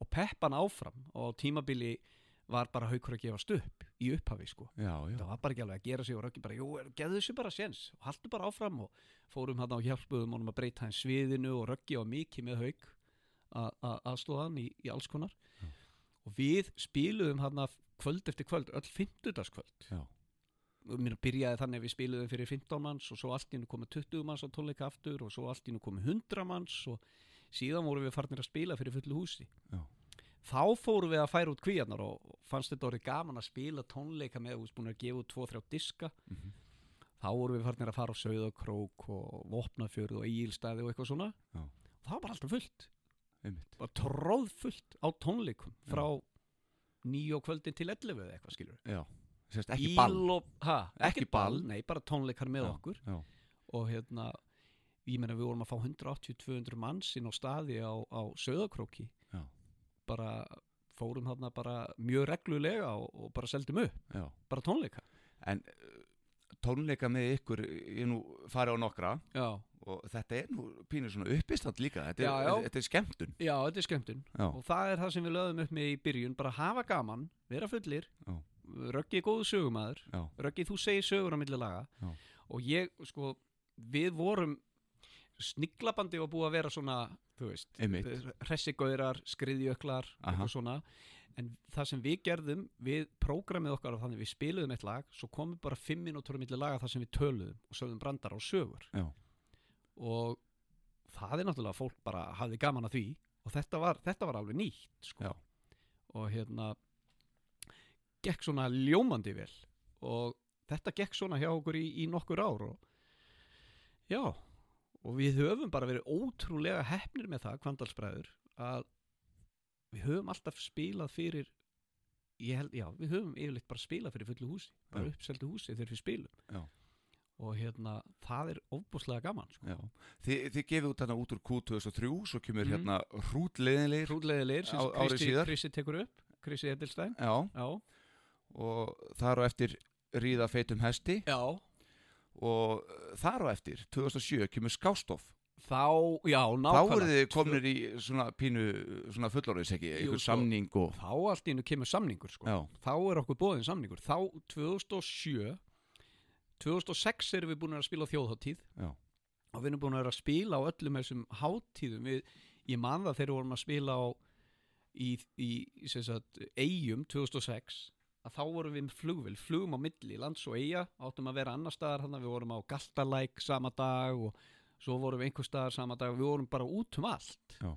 Speaker 4: og peppa hann áfram og á tímabili var bara haukur að gefast upp í upphafi sko
Speaker 1: já, já,
Speaker 4: það var bara ekki alveg að gera sig og röggi bara, jú, geðu þessu bara séns og haltu bara áfram og fórum hann á hjálpuðum honum að breyta hans sviðinu og röggi á mikið með haug aðstóða hann í, í alls konar og við spiluðum hann kvöld eftir kvöld, öll fimmtudagskvöld
Speaker 1: já,
Speaker 4: og mér byrjaði þannig að við spiluðum fyrir 15 manns og svo allt í nú komið 20 manns á tónleika aftur og svo allt í nú komið 100 manns og síðan vorum við farnir að spila fyrir fullu húsi
Speaker 1: Já.
Speaker 4: þá fórum við að færa út kvíarnar og fannst þetta orðið gaman að spila tónleika með, þú veist, búin að gefa út 2-3 diska
Speaker 1: Mhm.
Speaker 4: þá vorum við farnir að fara á Sauðakrók og Vopnafjörð og Egilstaði og eitthvað svona
Speaker 1: Já.
Speaker 4: það var bara alltaf fullt,
Speaker 1: einmitt
Speaker 4: bara tróðfullt á tónleikum frá 9 á kvöldin til 11 eða eitthvað skilur
Speaker 1: já, sérst ekki
Speaker 4: Bíl
Speaker 1: ball
Speaker 4: og, ha,
Speaker 1: Ekki
Speaker 4: ekki ball,
Speaker 1: ball.
Speaker 4: nei, bara tónleikar með
Speaker 1: Já,
Speaker 4: okkur
Speaker 1: já,
Speaker 4: og hérna, ég meina við vorum að fá 180-200 manns inn á staði á, á Söðakróki
Speaker 1: Já.
Speaker 4: bara fórum þarna bara mjög reglulega og, og bara seldum upp,
Speaker 1: já
Speaker 4: bara tónleika
Speaker 1: en uh, tónleika með ykkur uh, ég nú farið á nokkra
Speaker 4: já,
Speaker 1: og þetta er nú pínur svona uppistand líka þetta er,
Speaker 4: Já, já.
Speaker 1: Þetta er skemmtun
Speaker 4: já, þetta er skemmtun
Speaker 1: já,
Speaker 4: og það er það sem við löðum upp með í byrjun bara hafa gaman, vera fullir
Speaker 1: Já.
Speaker 4: Röggi er góðu sögumæður
Speaker 1: já,
Speaker 4: Röggi, þú segir sögur á milli laga
Speaker 1: Já.
Speaker 4: og ég, sko, við vorum sniglabandi var búið að vera svona, þú veist
Speaker 1: Einmitt.
Speaker 4: hressigaurar, skriðjöklar
Speaker 1: Aha.
Speaker 4: eitthvað svona, en það sem við gerðum við prógramið okkar og þannig við spiluðum eitt lag, svo komum bara fimm minútur á milli laga þar sem við töluðum og sögðum brandar á sögur
Speaker 1: Já.
Speaker 4: og það er náttúrulega að fólk bara hafði gaman að því og þetta var, þetta var alveg nýtt sko.
Speaker 1: Já.
Speaker 4: og hérna gekk svona ljómandi vel og þetta gekk svona hjá okkur í, í nokkur ár og já og við höfum bara verið ótrúlega hefnir með það kvandalsbræður að við höfum alltaf spilað fyrir ég held, já, við höfum yfirleitt bara spilað fyrir fullu húsi bara
Speaker 1: Já.
Speaker 4: uppseldu húsi þegar við spilum
Speaker 1: Já.
Speaker 4: og hérna, það er óbúslega gaman sko.
Speaker 1: já. Þi, þið gefið út þarna út úr Q2003 svo kemur
Speaker 4: Mhm.
Speaker 1: hérna hrútleðinleir
Speaker 4: Hrútleðilegir sem
Speaker 1: Á- ári
Speaker 4: Kristi,
Speaker 1: síðar.
Speaker 4: Kristi tekur upp Kristi Edelstein
Speaker 1: já,
Speaker 4: Já,
Speaker 1: og þar á eftir ríða feitum hesti
Speaker 4: já.
Speaker 1: og uh, þar á eftir 2007 kemur skástof
Speaker 4: Þá, já,
Speaker 1: þá voru
Speaker 4: nákvæmlega
Speaker 1: þið komnir í svona pínu svona fullorðis ekki,
Speaker 4: Jú,
Speaker 1: ykkur
Speaker 4: sko.
Speaker 1: samning og
Speaker 4: Þá allt í hennu kemur samningur sko.
Speaker 1: já,
Speaker 4: Þá er okkur bóðin samningur Þá 2007 2006 erum við búin að spila á þjóðháttíð
Speaker 1: Já.
Speaker 4: Og við erum búin að vera að spila á öllum þessum hátíðum við, Ég man það þegar við vorum að spila á í, í sem sagt, eigum 2006 að þá vorum við með flugvél, flugum á milli lands og eiga, áttum að vera annar staðar þannig við vorum á Galtalæk sama dag og svo vorum við einhver staðar sama dag við vorum bara út um allt
Speaker 1: Já.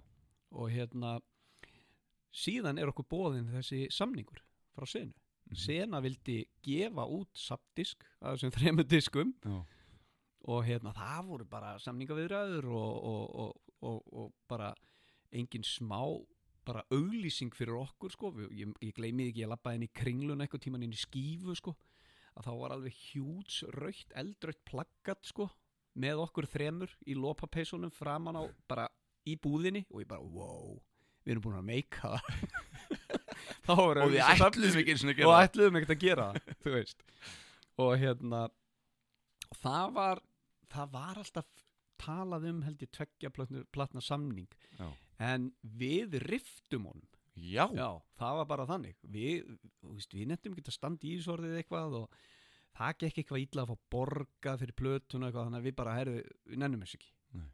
Speaker 4: og hérna síðan er okkur bóðin þessi samningur frá senu,
Speaker 1: Mhm.
Speaker 4: sena vildi gefa út sapdisk að þessum þremur diskum
Speaker 1: já,
Speaker 4: og hérna það voru bara samningaviðræður og, og, og, og, og bara engin smá bara auglýsing fyrir okkur sko, Við- ég, ég gleymi því ekki, ég lappaði inn í kringlun eitthvað tíman inn í skífu sko, að þá var alveg hjúts raukt, eldraukt plaggat sko, með okkur þremur í lopapeysunum framan á bara í búðinni og ég bara, wow við erum búin að meika það og
Speaker 1: og við ætluðum ekki eins og
Speaker 4: og
Speaker 1: gera það.
Speaker 4: ætluðum ekkert að gera það, þú veist og hérna og það var, það var alltaf talað um held ég tveggja platna, platna samning
Speaker 1: Já.
Speaker 4: en við riftum honum
Speaker 1: já,
Speaker 4: já, það var bara þannig við, þú veist, við nettum ekki að standa í ísorðið eitthvað og það gekk eitthvað illa að fá borga fyrir plötuna eitthvað þannig að við bara herðu, við nennum þessu ekki
Speaker 1: Nei.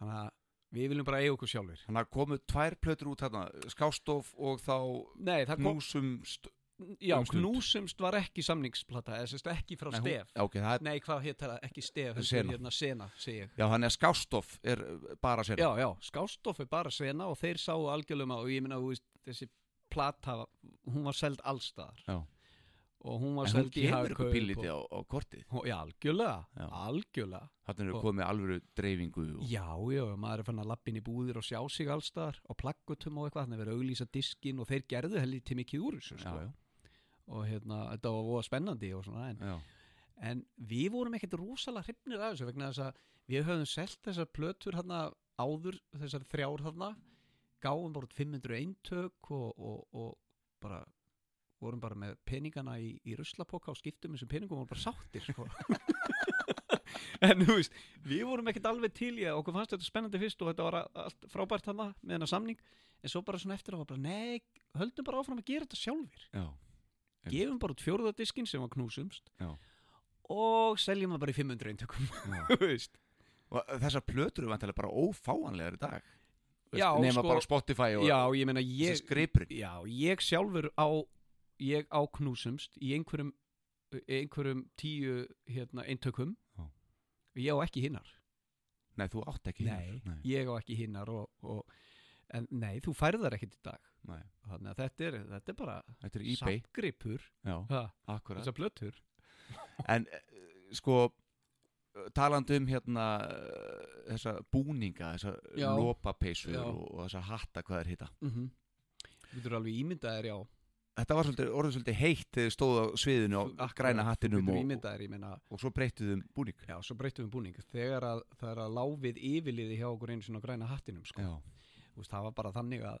Speaker 4: þannig að við viljum bara eiga okkur sjálfur
Speaker 1: þannig að komu tvær plötur út þarna skástof og þá
Speaker 4: Nei, það kom,
Speaker 1: knúsum st-
Speaker 4: já,
Speaker 1: um stund.
Speaker 4: knúsumst var ekki samningsplata, eða sem sagt ekki frá
Speaker 1: Nei, hún-
Speaker 4: stef
Speaker 1: já, ok, það er,
Speaker 4: Nei, hvað hétt það? Ekki stef, heldur
Speaker 1: Sena.
Speaker 4: hérna sena, segi ég.
Speaker 1: já, hann er skástof er uh, bara sér
Speaker 4: Já, já, skástof er bara sena og þeir sáu algjörlega um og ég minna, þú veist, þessi plata, hún var seld allstaðar.
Speaker 1: Já.
Speaker 4: Og hún var
Speaker 1: en hún
Speaker 4: seld í
Speaker 1: kemur ykkur
Speaker 4: Hagkaup
Speaker 1: píliti á, á kortið
Speaker 4: og- Já, algjörlega,
Speaker 1: Já.
Speaker 4: algjörlega.
Speaker 1: þannig er
Speaker 4: Og-
Speaker 1: komið alvöru dreifingu og,
Speaker 4: Já, já, maður er fann að lappin í búðir og sjá sig allstaðar og plaggutum og eitthvað, þannig að vera að auglýsa diskin og þeir gerðu heldur til mikið úr þessu, sko.
Speaker 1: já,
Speaker 4: Og hérna, þetta var voða spennandi og svona, en
Speaker 1: já,
Speaker 4: en við vorum ekkert rosalega hrifnir af þessu vegna þess að við höfum selt þessar plötur hérna áður þessar þrjár hérna gáum bara út 500 eintök og, og, og bara vorum bara með peningana í, í ruslapoka og skiptum þessum peningum og vorum bara sáttir sko. en þú veist við vorum ekkert alveg til í að okkur fannst þetta spennandi fyrst og þetta var a- allt frábært hérna með hennar samning en svo bara svona eftir að var bara nei, höldum bara áfram að gera þetta sjálfir
Speaker 1: já,
Speaker 4: gefum bara út fjórðadiskin sem var knúsumst
Speaker 1: Já.
Speaker 4: og seljum það bara í 500 eintökum þú veist.
Speaker 1: og þessar plötur eru vantilega bara ófáanlegar í dag
Speaker 4: Já,
Speaker 1: nema
Speaker 4: sko-
Speaker 1: bara Spotify og
Speaker 4: já, ég meina
Speaker 1: þessi
Speaker 4: ég,
Speaker 1: skripur
Speaker 4: já, ég sjálfur á ég á knúsumst í einhverjum einhverjum tíu hérna, eintökum
Speaker 1: Já.
Speaker 4: ég á ekki hinnar
Speaker 1: nei, þú átt ekki hérna.
Speaker 4: Nei,
Speaker 1: hinar.
Speaker 4: ég á ekki hinnar og, og, en nei, þú færðar ekkit í dag
Speaker 1: Nei.
Speaker 4: þannig að þetta er, þetta er bara
Speaker 1: þetta er eBay
Speaker 4: safngripur
Speaker 1: já,
Speaker 4: ha,
Speaker 1: akkurat
Speaker 4: þessar plötur
Speaker 1: en eh, sko eh, talandi um hérna eh, þessa búninga, þessa
Speaker 4: Já.
Speaker 1: lópapeysur
Speaker 4: Já.
Speaker 1: og, og þessa hatta hvað er hitta
Speaker 4: mm -hmm. Þú getur alveg ímyndaðir, já
Speaker 1: þetta var svolítið, orðið svolítið heitt þegar þið stóð á sviðinu á
Speaker 4: Akkurat,
Speaker 1: græna
Speaker 4: Þú
Speaker 1: hattinum
Speaker 4: getur
Speaker 1: og,
Speaker 4: ímyndaðir, ég meina
Speaker 1: og svo breyttuð um búning
Speaker 4: Já, svo breytum við búning Þegar að, það er að láfið yfirliði hjá okkur einu sinni á græna hattinum sko.
Speaker 1: já,
Speaker 4: Þú veist, Það var bara þannig að það-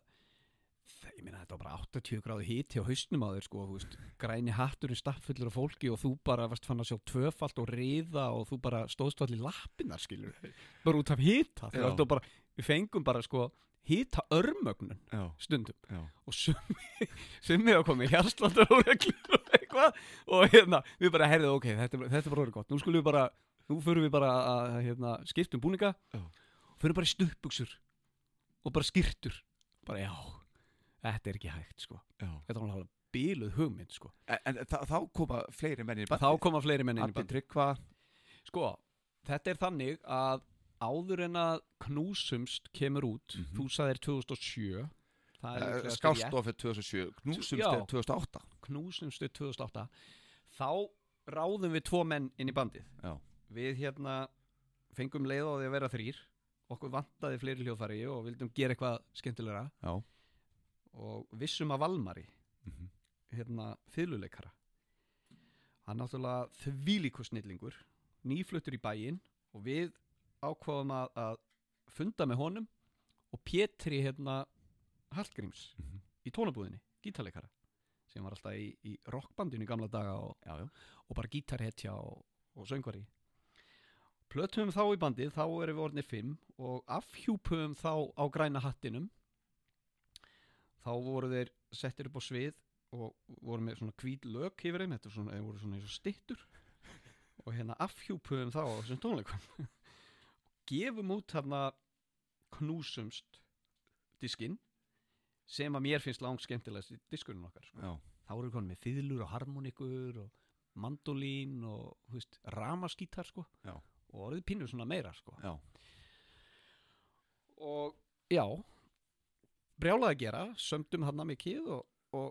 Speaker 4: Ég meina þetta var bara 80 gráðu hiti á hausnum á þér sko, þú veist, Græni hatturinn stappfullur af fólki og þú bara varst fann að sjá tvöfalt og riða og þú bara stóðst allir lappinnar skilur við. Bara út af hita
Speaker 1: Já.
Speaker 4: Þegar þetta var bara, Við fengum bara sko hita örmögnun
Speaker 1: já,
Speaker 4: stundum
Speaker 1: já,
Speaker 4: og summi, summi hafa komið hjarsláttar og reglur og eitthvað og hérna, við bara herðið, ok, þetta, er bara- þetta er bara orðið gott, nú skulum við bara, nú förum við bara að hérna, skiptum búninga
Speaker 1: Já.
Speaker 4: förum bara í stuðbuksur og bara skýrtur bara já, þetta er ekki hægt sko
Speaker 1: já.
Speaker 4: þetta var alveg bíluð hugmynd sko
Speaker 1: En, en þá, þá koma fleiri menni í
Speaker 4: þá koma fleiri menn inn í
Speaker 1: Abbi
Speaker 4: bandi
Speaker 1: Tryggva
Speaker 4: sko, þetta er þannig að áður en að knúsumst kemur út,
Speaker 1: Mhm.
Speaker 4: þú sagðir 2007 það er
Speaker 1: Eh,
Speaker 4: líklegast rétt.
Speaker 1: Skástofið 2007,
Speaker 4: Já.
Speaker 1: Knúsumstef 2008
Speaker 4: knúsumstu 2008 þá ráðum við tvo menn inn í bandið
Speaker 1: Já.
Speaker 4: við hérna fengum leið á því að vera þrýr okkur vantaði fleiri hljóðfæri og vildum gera eitthvað skemmtilegra
Speaker 1: Já.
Speaker 4: og vissum að Valmari
Speaker 1: Mhm.
Speaker 4: hérna fiðluleikara hann náttúrulega þvílíku snillingur nýfluttur í bæinn og við ákváðum að, að funda með honum og Pétri hérna Hallgríms
Speaker 1: Mhm.
Speaker 4: í tónabúðinni, gítarleikara sem var alltaf í, í rockbandinu í gamla daga og,
Speaker 1: Já, já.
Speaker 4: og bara gítarhetja og, og söngvari plötum þá í bandið, þá erum við orðinir fimm og afhjúpum þá á græna hattinum þá voru þeir settir upp á svið og voru með svona hvít lög yfir þeim, þetta er svona, þeir voru svona eins og stittur og hérna afhjúpum þá á þessum tónleikum gefum út þarna knúsumst diskinn sem að mér finnst langt skemmtilegast í diskunum okkar sko
Speaker 1: Já.
Speaker 4: þá eru konum með fiðlur og harmonikur og mandolín og þú veist, ramaskítar sko
Speaker 1: Já.
Speaker 4: og orðið pínur svona meira sko
Speaker 1: Já.
Speaker 4: og já brjálaði að gera, sömdum hann mikið og, og,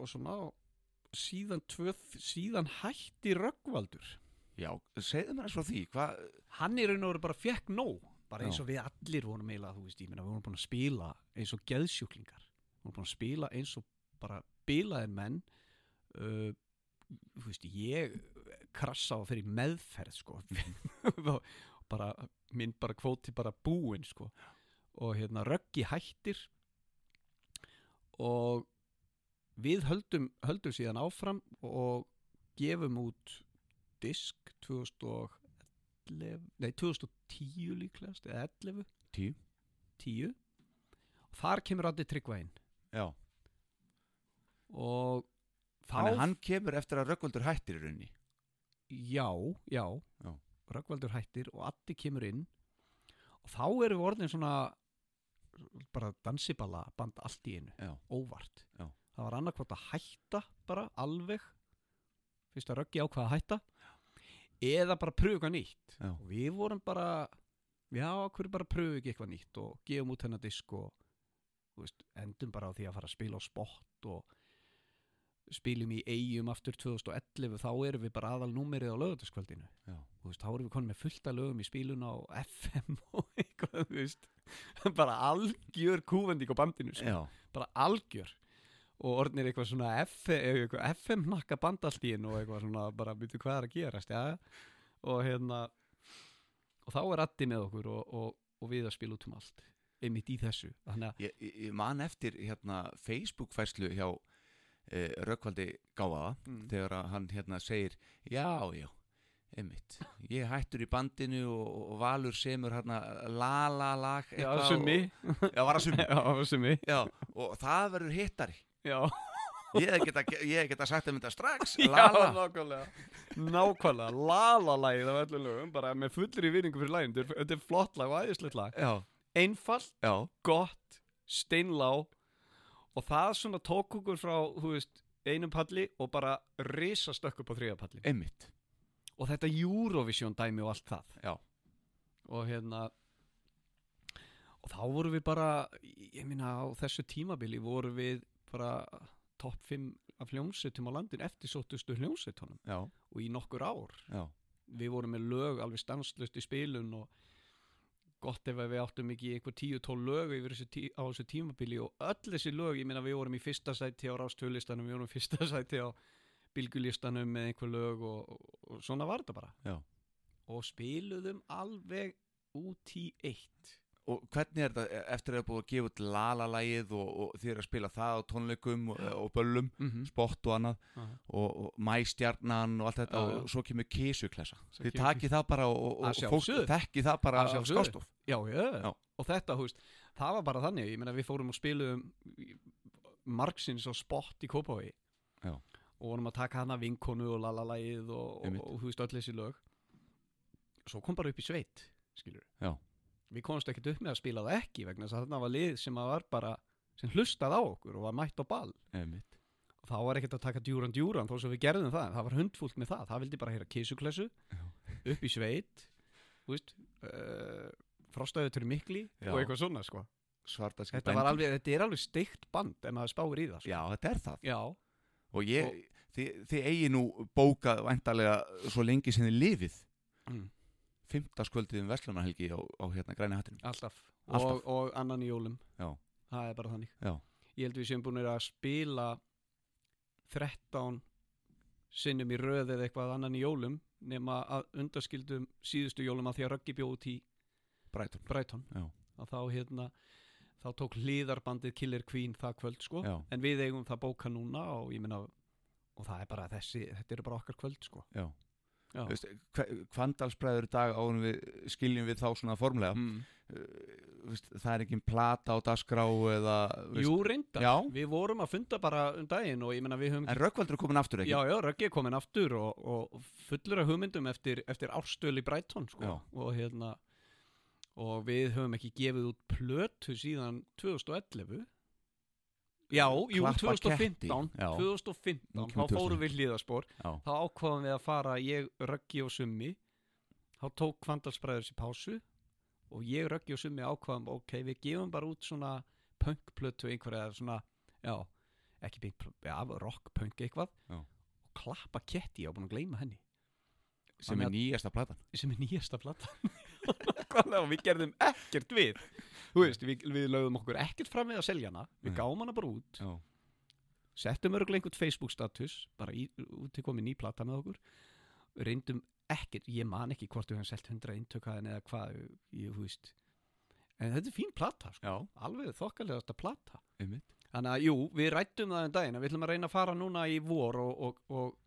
Speaker 4: og svona og síðan, tvö, síðan hætti Röggvaldur
Speaker 1: já, segðu mér eins frá því hvað,
Speaker 4: hann er raun og veru bara fekk nóg bara eins
Speaker 1: Já.
Speaker 4: og við allir vorum eiginlega, þú veist, ég meina við vorum búin að spila eins og geðsjúklingar við vorum búin að spila eins og bara bilaðir menn uh, þú veist, ég krassa á að fyrir meðferð sko Og bara, minn bara kvóti bara búinn sko og hérna röggi hættir og við höldum, höldum síðan áfram og gefum út disk 2011 nei 2010 líklegast eða 11
Speaker 1: Tíu.
Speaker 4: 10 og þar kemur Addi Tryggva inn
Speaker 1: já,
Speaker 4: og
Speaker 1: þannig
Speaker 4: þá
Speaker 1: að hann kemur eftir að Röggvaldur hættir í raunni
Speaker 4: já, já,
Speaker 1: Já.
Speaker 4: Röggvaldur hættir og Addi kemur inn og þá erum við orðin svona bara dansiballa band allt í einu
Speaker 1: já,
Speaker 4: óvart
Speaker 1: Já.
Speaker 4: það var annarkvort að hætta bara alveg fyrst að röggi ákvað að hætta eða bara pröfu eitthvað nýtt
Speaker 1: Já.
Speaker 4: og við vorum bara já, hverju bara pröfu ekki eitthvað nýtt og gefum út hennar disk og þú veist, endum bara á því að fara að spila á spott og spilum í eigum aftur 2011 þá erum við bara aðal númerið á lögutaskvöldinu
Speaker 1: Já.
Speaker 4: þú veist, þá erum við konum með fullta lögum í spiluna og FM og eitthvað, þú veist bara algjör kúvending á bandinu sko
Speaker 1: já,
Speaker 4: bara algjör og orðnir eitthvað svona F- eh, eitthvað FM nakka bandaltíin og eitthvað svona bara byrju hvað er að gerast ja? og hérna og þá er Addi með okkur og, og, og við að spila út um allt einmitt í þessu þannig að
Speaker 1: ég, ég ég man eftir hérna Facebook-færslu hjá eh, Röggvaldi gáfaða
Speaker 4: Mm.
Speaker 1: þegar að hann hérna segir já, já, einmitt ég hættur í bandinu og, og Valur semur hérna la-la-lag
Speaker 4: já, summi
Speaker 1: já, var að summi
Speaker 4: já, summi
Speaker 1: já, og það verður hittari
Speaker 4: já,
Speaker 1: Ég hef geta, ég hef geta sagt um þetta strax
Speaker 4: Já,
Speaker 1: Lala
Speaker 4: nákvæmlega Nákvæmlega, lala-lægið af öllu lögum bara með fullri viðringu fyrir lægin Þetta er- þetta er flott lag og æðislegt lag
Speaker 1: Já,
Speaker 4: Einfalt,
Speaker 1: já,
Speaker 4: gott, steinlá og það svona tók okkur frá, þú veist, einum palli og bara risastökk upp á þriða palli
Speaker 1: einmitt
Speaker 4: og þetta Eurovision dæmi og allt það
Speaker 1: Já.
Speaker 4: og hérna og þá vorum við bara ég minna á þessu tímabili vorum við bara topp 5 af hljómsettum á landin eftir sóttustu hljómsettunum
Speaker 1: Já,
Speaker 4: og í nokkur ár
Speaker 1: já,
Speaker 4: við vorum með lög alveg stanslust í spilun og gott ef að við áttum ekki einhver 10-12 lög yfir þessu tí, á þessu tímabili og öll þessi lög, ég meina við vorum í fyrsta sæti á rástöðlistanum, við vorum í fyrsta sæti á bylgulistanum með einhver lög og, og, og svona var þetta bara
Speaker 1: Já.
Speaker 4: og spiluðum alveg út í eitt
Speaker 1: Og hvernig er þetta e, eftir að það er búið að gefa út Lala-lægið og, og þið eru að spila það á tónleikum og, og böllum
Speaker 4: mm -hmm.
Speaker 1: Spott og annað og, og mæstjarnan og allt þetta
Speaker 4: Já, já.
Speaker 1: og svo kemur kísuklessa
Speaker 4: Svo
Speaker 1: Þið
Speaker 4: kemur
Speaker 1: takið það bara og, og,
Speaker 4: Að
Speaker 1: og fólk
Speaker 4: sjálfsögðu.
Speaker 1: þekki það bara
Speaker 4: Að
Speaker 1: af
Speaker 4: sjálfsögðu.
Speaker 1: skástof
Speaker 4: já, já,
Speaker 1: Já.
Speaker 4: og þetta, þú veist, það var bara þannig ég meina við fórum og spiluðum í- margsins á spott í Kópavogi
Speaker 1: Já.
Speaker 4: og vorum að taka hana vinkonu og lalalægið og, og,
Speaker 1: Einmitt.
Speaker 4: og þú veist, öll þessi lög svo kom bara upp í sveit skilur
Speaker 1: Já.
Speaker 4: við komumst ekkert upp með að spila það ekki vegna þess að þarna var lið sem að var bara sem hlustað á okkur og var mætt á ball
Speaker 1: Einmitt
Speaker 4: og þá var ekkert að taka djúran djúran þó sem við gerðum það, það var hundfúlt með það það vildi bara heyra kísuklessu upp í sveit þú veist, uh, frostaðið til mikli
Speaker 1: Já.
Speaker 4: og eitthvað svona sko
Speaker 1: Svartaskip
Speaker 4: þetta, var alveg, þetta er alveg steikt band ef maður spáir í það sko.
Speaker 1: Já, þetta er það
Speaker 4: Já.
Speaker 1: Og ég, þið, þið eigi nú bókað væntalega svo lengi sem þið lifið
Speaker 4: Mm.
Speaker 1: Fymtaskvöldið um Vestlumarhelgi á, á hérna græni hattinum
Speaker 4: alltaf,
Speaker 1: Alltaf.
Speaker 4: Og, og annan í jólum
Speaker 1: Já.
Speaker 4: það er bara þannig
Speaker 1: Já.
Speaker 4: ég held við séum búin að spila 13 sinnum í röð eða eitthvað annan í jólum nema að undaskildum síðustu jólum að því að Röggi bjóð út í
Speaker 1: Brætun
Speaker 4: Brighton
Speaker 1: Já.
Speaker 4: að þá hérna þá tók hliðarbandið Killer Queen það kvöld sko
Speaker 1: Já,
Speaker 4: en við eigum það bóka núna og ég minna og það er bara þessi, þetta eru bara okkar kvöld sko
Speaker 1: já,
Speaker 4: Já.
Speaker 1: Þú veist, Kvandalsbræður í dag árum við skiljum við þá svona formlega
Speaker 4: mm.
Speaker 1: Þú veist, Það er ekki plata á dasgrá eða þú veist-
Speaker 4: Jú reyndar,
Speaker 1: Já.
Speaker 4: við vorum að funda bara um daginn og ég minna við höfum
Speaker 1: En Rökkvaldur er komin aftur ekki
Speaker 4: Já, já, Röggi er komin aftur og, og fullur af hugmyndum eftir, eftir árstölu í Brighton sko.
Speaker 1: Já.
Speaker 4: og hérna og við höfum ekki gefið út plötu síðan 2011 Já, jú,
Speaker 1: Klappa
Speaker 4: 2015
Speaker 1: ketti, já.
Speaker 4: 2015,
Speaker 1: Nú
Speaker 4: þá
Speaker 1: kemur
Speaker 4: fórum við hlýðaspor
Speaker 1: Já.
Speaker 4: þá ákvaðum við að fara ég, Röggi og Summi þá tók Kvandalsbræður sér pásu og ég, Röggi og Summi ákvaðum ok, við gefum bara út svona punkplötu einhverja eða svona, já ekki pink, já, rock, punk eitthvað
Speaker 1: Já.
Speaker 4: og klappa ketti, ég var búin að gleyma henni
Speaker 1: sem er nýjasta platan
Speaker 4: sem er nýjasta platan Nákvæmlega, og við gerðum ekkert við þú veist, við, við lögðum okkur ekkert fram við að selja hana við
Speaker 1: Nei.
Speaker 4: gáum hana bara út
Speaker 1: Já,
Speaker 4: settum örgulega einhvern Facebook status bara í, út til komið ný plata með okkur reyndum ekkert, ég man ekki hvort við höfum selt 100 eintökaðin eða hvað ég þú veist en þetta er fín plata, sko.
Speaker 1: já,
Speaker 4: alveg þokkalegasta plata
Speaker 1: einmitt
Speaker 4: þannig að jú, við rættum það um daginn að við ætlum að reyna að fara núna í vor og, og, og,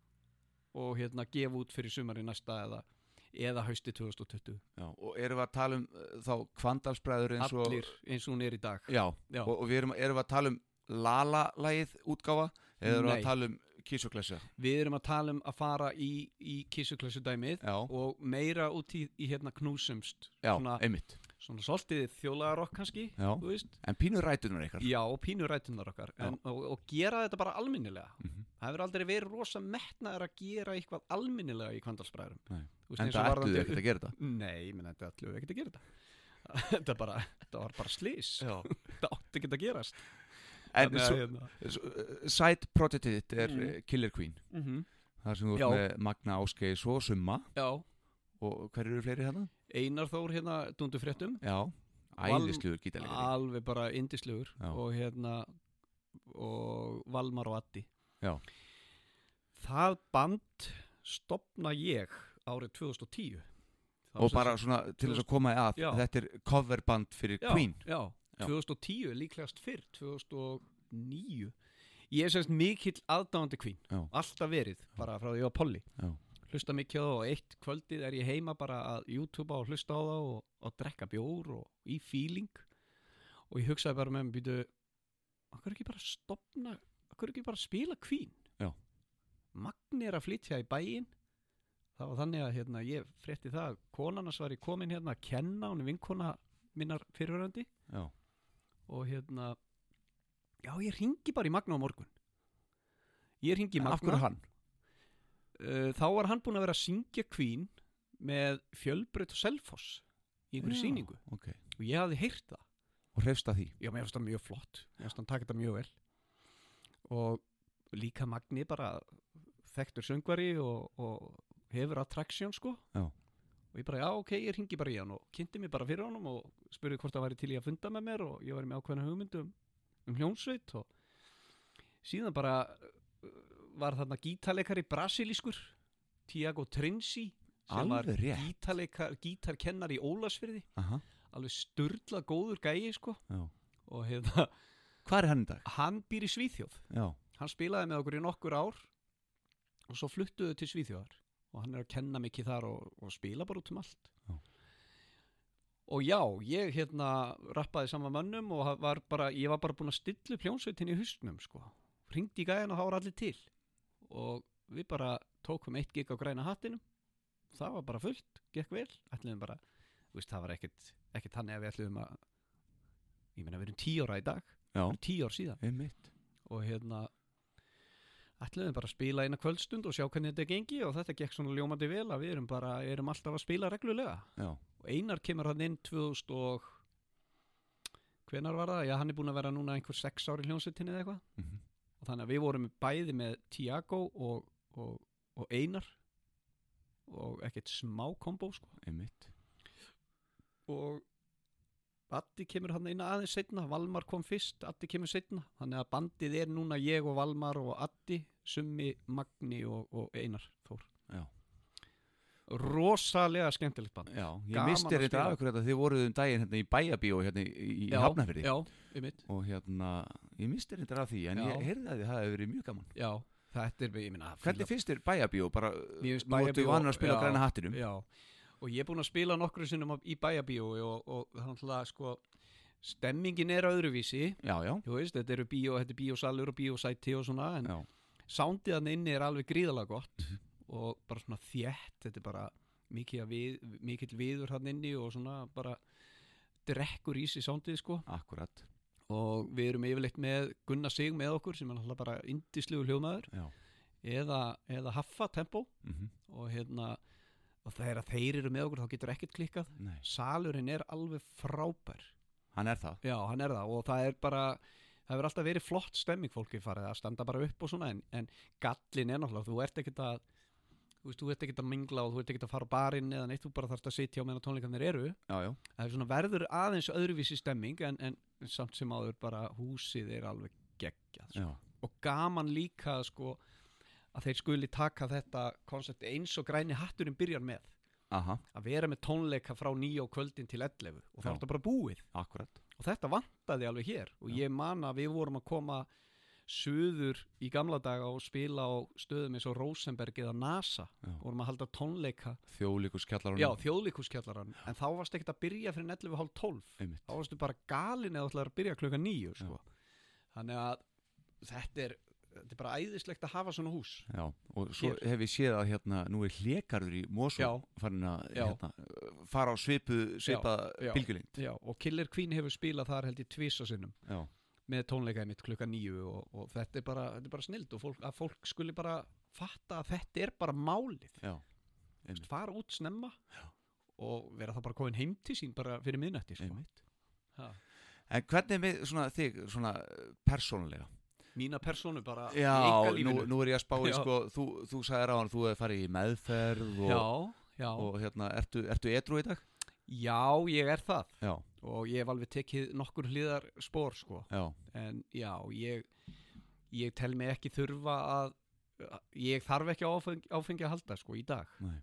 Speaker 4: og hérna gefa út fyrir sumari næsta eða eða hausti 2020
Speaker 1: já. Og erum við að tala um uh, þá Kvandalsbræður eins og
Speaker 4: allir eins og hún er í dag
Speaker 1: Já,
Speaker 4: Já.
Speaker 1: og, og við erum, erum við að tala um Lala-lægið útgáfa eða erum við
Speaker 4: Nei.
Speaker 1: að tala um Kísuklesja
Speaker 4: við erum að tala um að fara í, í kissuklessu dæmið
Speaker 1: Já,
Speaker 4: og meira út í, í hérna knúsumst
Speaker 1: já,
Speaker 4: svona,
Speaker 1: einmitt
Speaker 4: svona svolítið þjólaðarokk kannski
Speaker 1: Já.
Speaker 4: þú veist
Speaker 1: En pínur rætunar ykkar
Speaker 4: já og pínu rætunar okkar en, og, og gera þetta bara alminnilega
Speaker 1: Mhm.
Speaker 4: það hefur aldrei verið rosa metnaður að gera eitthvað alminnilega í kvandalsbræðurum
Speaker 1: Nei. En það ættu þau ekkert að gera þetta
Speaker 4: nei, menn þetta ætluðu ekkert að gera þetta þetta, bara, þetta var bara slís þetta átti ekki að gerast
Speaker 1: En
Speaker 4: Þannig að,
Speaker 1: svo,
Speaker 4: hérna,
Speaker 1: svo, uh, side projectið þitt er
Speaker 4: Mm.
Speaker 1: mm. Killer Queen
Speaker 4: mhm,
Speaker 1: þar sem þú
Speaker 4: Já.
Speaker 1: ert með Magna Áskei svo summa
Speaker 4: já,
Speaker 1: og hver eru fleiri hérna?
Speaker 4: Einar Þór hérna dundu fréttum
Speaker 1: Já,
Speaker 4: Val-
Speaker 1: æðisluður gítalegari
Speaker 4: alveg bara indislegur
Speaker 1: Já.
Speaker 4: og hérna og Valmar og Addi
Speaker 1: Já.
Speaker 4: það band stopna ég árið 2010 Það var
Speaker 1: og
Speaker 4: sem
Speaker 1: bara
Speaker 4: sagt-
Speaker 1: svona til þess að koma að
Speaker 4: Já.
Speaker 1: þetta er coverband fyrir
Speaker 4: já,
Speaker 1: Queen
Speaker 4: já,
Speaker 1: Já.
Speaker 4: 2010 líklegast fyrr 2009 ég er semst mikill aðdáandi Queen
Speaker 1: Já.
Speaker 4: alltaf verið bara frá því að Polly
Speaker 1: Já.
Speaker 4: hlusta mikið á það og eitt kvöldið er ég heima bara að YouTube og hlusta á það og, og drekka bjór og í feeling og ég hugsaði bara með mér býtu, hvað er ekki bara að stopna hverju ekki bara spila kvín
Speaker 1: Já.
Speaker 4: Magni er að flytja í bæinn það var þannig að hérna, ég frétti það konan hans var í komin hérna að kenna hún er vinkona minnar fyrirverandi
Speaker 1: já,
Speaker 4: og hérna já ég ringi bara í Magna á morgun ég ringi í
Speaker 1: En
Speaker 4: Magna
Speaker 1: af hverju hann?
Speaker 4: Uh, þá var hann búin að vera að syngja kvín með fjölbröð og selfoss í einhverju
Speaker 1: Já.
Speaker 4: sýningu
Speaker 1: ok
Speaker 4: og ég hafði heyrt það
Speaker 1: og hrefsta því
Speaker 4: já mér finnst það mjög flott mér finnst hann taka þetta mjög vel og líka Magni bara þekktur söngvari og, og hefur attraction sko
Speaker 1: Já.
Speaker 4: og ég bara já ok ég ringi bara í hann og kynnti mig bara fyrir honum og spurði hvort það væri til í að funda með mér og ég væri með ákveðna hugmyndum um hljónsveit og síðan bara uh, var þarna gítarleikari brasilískur Tiago Trinsi sem var
Speaker 1: Alveg rétt.
Speaker 4: gítarleikar, gítarkennar í Ólasfyrði
Speaker 1: Aha,
Speaker 4: alveg sturdla góður gæi sko
Speaker 1: já.
Speaker 4: og hérna,
Speaker 1: hvað er hann í dag?
Speaker 4: hann býr í Svíþjóð
Speaker 1: já,
Speaker 4: hann spilaði með okkur í nokkur ár og svo fluttuðu til Svíþjóðar og hann er að kenna mikið þar og, og spila bara út um allt
Speaker 1: Já.
Speaker 4: og já, ég hérna rappaði saman mönnum og ha- var bara, ég var bara búin að stillu pljónsveitin í hustnum sko, ringdi í gæðan og þá var allir til og við bara tókum eitt gig á græna hattinum það var bara fullt, gekk vel ætliðum bara, þú veist, það var ekkit ekkit þannig að við ætliðum að ég meina, við erum tíu ára í dag,
Speaker 1: já,
Speaker 4: við erum tíu ár síðan
Speaker 1: einmitt
Speaker 4: og hérna ætluðum bara að spila eina kvöldstund og sjá hvernig þetta gengi og þetta gekk svona ljómandi vel að við erum bara, erum alltaf að spila reglulega
Speaker 1: já,
Speaker 4: og Einar kemur hann inn 2000 og hvenar var það? Já, hann er búin að vera núna einhver sex ári hljónsettinni eða eitthvað
Speaker 1: mm
Speaker 4: og þannig að við vorum bæði með Tiago og, og, og Einar og ekkert smá kombo sko
Speaker 1: einmitt
Speaker 4: og Addi kemur hann eina aðeins setna, Valmar kom fyrst, Addi kemur setna, þannig að bandið er núna ég og Valmar og Addi, Summi, Magni og, og Einar Þór.
Speaker 1: Já.
Speaker 4: Rosalega skemmtilegt band.
Speaker 1: já, ég
Speaker 4: Gaman
Speaker 1: misti
Speaker 4: að
Speaker 1: þetta
Speaker 4: spila.
Speaker 1: af ykkur þetta þið voruð um daginn hérna í bæjabíó hérna í, í
Speaker 4: Já,
Speaker 1: Hafnafyrði
Speaker 4: Já, um mitt.
Speaker 1: og hérna, ég misti þetta af því en
Speaker 4: Já.
Speaker 1: ég heyrði að þið hafi verið mjög gaman
Speaker 4: Já, þetta er, ég minna,
Speaker 1: hvernig finnst þér bæjabíó? bara,
Speaker 4: Mér finnst
Speaker 1: nú ertu
Speaker 4: Bæjarbíó-
Speaker 1: vanur að spila
Speaker 4: já,
Speaker 1: á græna hattinum
Speaker 4: Já, og ég er búin að spila nokkru sinnum á- í bæjabíói og, og þannig að sko, stemmingin er öðruvísi,
Speaker 1: já, já,
Speaker 4: þú veist, þetta eru bíó, þetta er bíósalur og bíósæti og svona, en
Speaker 1: já,
Speaker 4: soundið hann inni er alveg gríðalega gott og bara svona þjætt þetta er bara mikið, að við, mikið viður hann inni og svona bara drekkur í sig soundið sko
Speaker 1: akkurat
Speaker 4: og við erum yfirleitt með Gunnar Sig með okkur sem er náttúrulega bara indislegu hljómaður
Speaker 1: já,
Speaker 4: eða, eða Haffa Tempo
Speaker 1: mm
Speaker 4: og hérna og þegar að þeir eru með okkur þá getur ekkert klikkað
Speaker 1: nei,
Speaker 4: salurinn er alveg frábær
Speaker 1: hann er það
Speaker 4: Já, hann er það og það er bara það hefur alltaf verið flott stemming fólki farið að standa bara upp og svona en, en gallin er náttúrulega, þú ert ekkert að þú veist, þú ert ekkert að mingla og þú ert ekkert að fara á barinn eða neitt, þú bara þarfst að sitja á meðan tónleikarnir eru
Speaker 1: já, já,
Speaker 4: það er svona verður aðeins öðruvísi stemming en, en samt sem áður bara húsið er alveg geggjað sko.
Speaker 1: já,
Speaker 4: og gaman líka sko að þeir skuli taka þetta koncept eins og græni hatturinn byrjar með
Speaker 1: aha,
Speaker 4: að vera með tónleika frá nýja og kvöldin til 11 og þá
Speaker 1: Já.
Speaker 4: er þetta bara búið
Speaker 1: akkurat
Speaker 4: og þetta vantaði alveg hér og
Speaker 1: Já.
Speaker 4: ég man að við vorum að koma suður í gamla daga og spila á stöðum eins og Rosenberg eða NASA
Speaker 1: Já.
Speaker 4: vorum að halda tónleika
Speaker 1: þjóðlíkus kjallar
Speaker 4: já, þjóðlíkuskjallarann en þá varst ekkert að byrja fyrir 11.30 12
Speaker 1: einmitt
Speaker 4: þá varstu bara galin eða þú ætlaðir að byrja klukka 9 sko. þannig að þetta er, þetta er bara æðislegt að hafa svona hús
Speaker 1: Já, og svo
Speaker 4: Hér.
Speaker 1: hef ég séð að hérna nú er hlekarður í Mosó
Speaker 4: Já.
Speaker 1: farin að
Speaker 4: Já.
Speaker 1: hérna, uh, fara á svipu svipa
Speaker 4: Já, já.
Speaker 1: bylgjulengt
Speaker 4: já, og Killer Queen hefur spilað þar held ég tvisa sinnum
Speaker 1: Já,
Speaker 4: með tónleikaði mitt klukka nýju og, og þetta er bara, þetta er bara snild og fólk, að fólk skuli bara fatta að þetta er bara málið
Speaker 1: já,
Speaker 4: Vist, fara út snemma og vera það bara komin heim til sín bara fyrir miðnætti sko.
Speaker 1: einmitt
Speaker 4: Ha.
Speaker 1: En hvernig er með svona þig, svona persónulega?
Speaker 4: mína persónu bara í
Speaker 1: Já, nú,
Speaker 4: einkalífinu.
Speaker 1: nú er ég að spá í
Speaker 4: Já.
Speaker 1: sko, þú, þú sagðir á hann, þú hefur farið í meðferð og,
Speaker 4: já, já,
Speaker 1: og hérna, ertu, ertu edru í dag?
Speaker 4: já, ég er það
Speaker 1: Já,
Speaker 4: og ég hef alveg tekið nokkur hliðar spór sko.
Speaker 1: já,
Speaker 4: en já, ég ég tel mig ekki þurfa að ég þarf ekki á áfengi, áfengi að halda sko í dag
Speaker 1: nei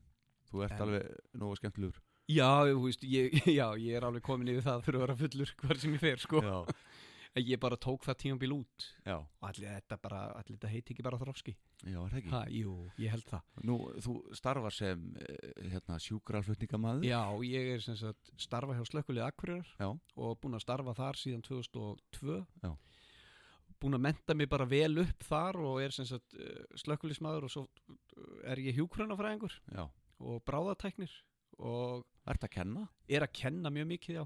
Speaker 1: Þú ert
Speaker 4: En-
Speaker 1: alveg nógu skemmtilegur
Speaker 4: já, þú veist, ég, já, ég er alveg komin yfir það fyrir að vera fullur hvar sem ég fer sko.
Speaker 1: Já,
Speaker 4: en ég bara tók það tímabil út
Speaker 1: já,
Speaker 4: og allir þetta, bara, allir þetta heiti ekki bara þróski
Speaker 1: já, er það ekki
Speaker 4: ha, jú, ég held það
Speaker 1: Nú, þú starfar sem eh, hérna, sjúkraflutningamæður
Speaker 4: Já, ég er sem sagt starfa hjá slökkulið Akureyrar
Speaker 1: Já.
Speaker 4: og búin að starfa þar síðan 2002
Speaker 1: Já.
Speaker 4: búin að menta mig bara vel upp þar og er sem sagt eh, slökkulismæður og svo er ég hjúkrunafræðingur
Speaker 1: Já.
Speaker 4: og bráðatæknir og
Speaker 1: Ert að kenna?
Speaker 4: er að kenna mjög mikið já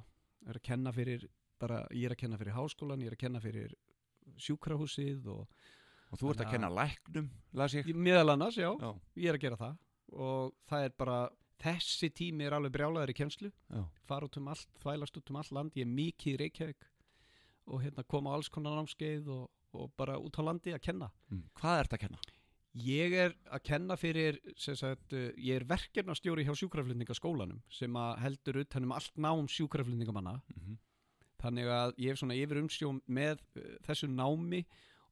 Speaker 4: er að kenna fyrir bara, ég er að kenna fyrir háskólan, ég er að kenna fyrir sjúkrahúsið og
Speaker 1: Og þú ert að kenna
Speaker 4: Þannig
Speaker 1: læknum, las ég.
Speaker 4: Ég- meðal annars, já,
Speaker 1: Já.
Speaker 4: ég er að gera það og það er bara, þessi tími er alveg brjálæður í kennslu
Speaker 1: Já.
Speaker 4: fara út um allt, þvælast út um allt land ég er mikið í Reykjavík og hérna koma á alls konar námskeið og, og bara út á landi að kenna
Speaker 1: Mm. Hvað ert að kenna?
Speaker 4: ég er að kenna fyrir sem sagt, uh, ég er verkefnastjóri hjá sjúkraflutningaskólanum sem að heldur utan um allt nám sjúkraflutningamanna
Speaker 1: Mhm.
Speaker 4: þannig að ég hef svona yfir umsjón með uh, þessu námi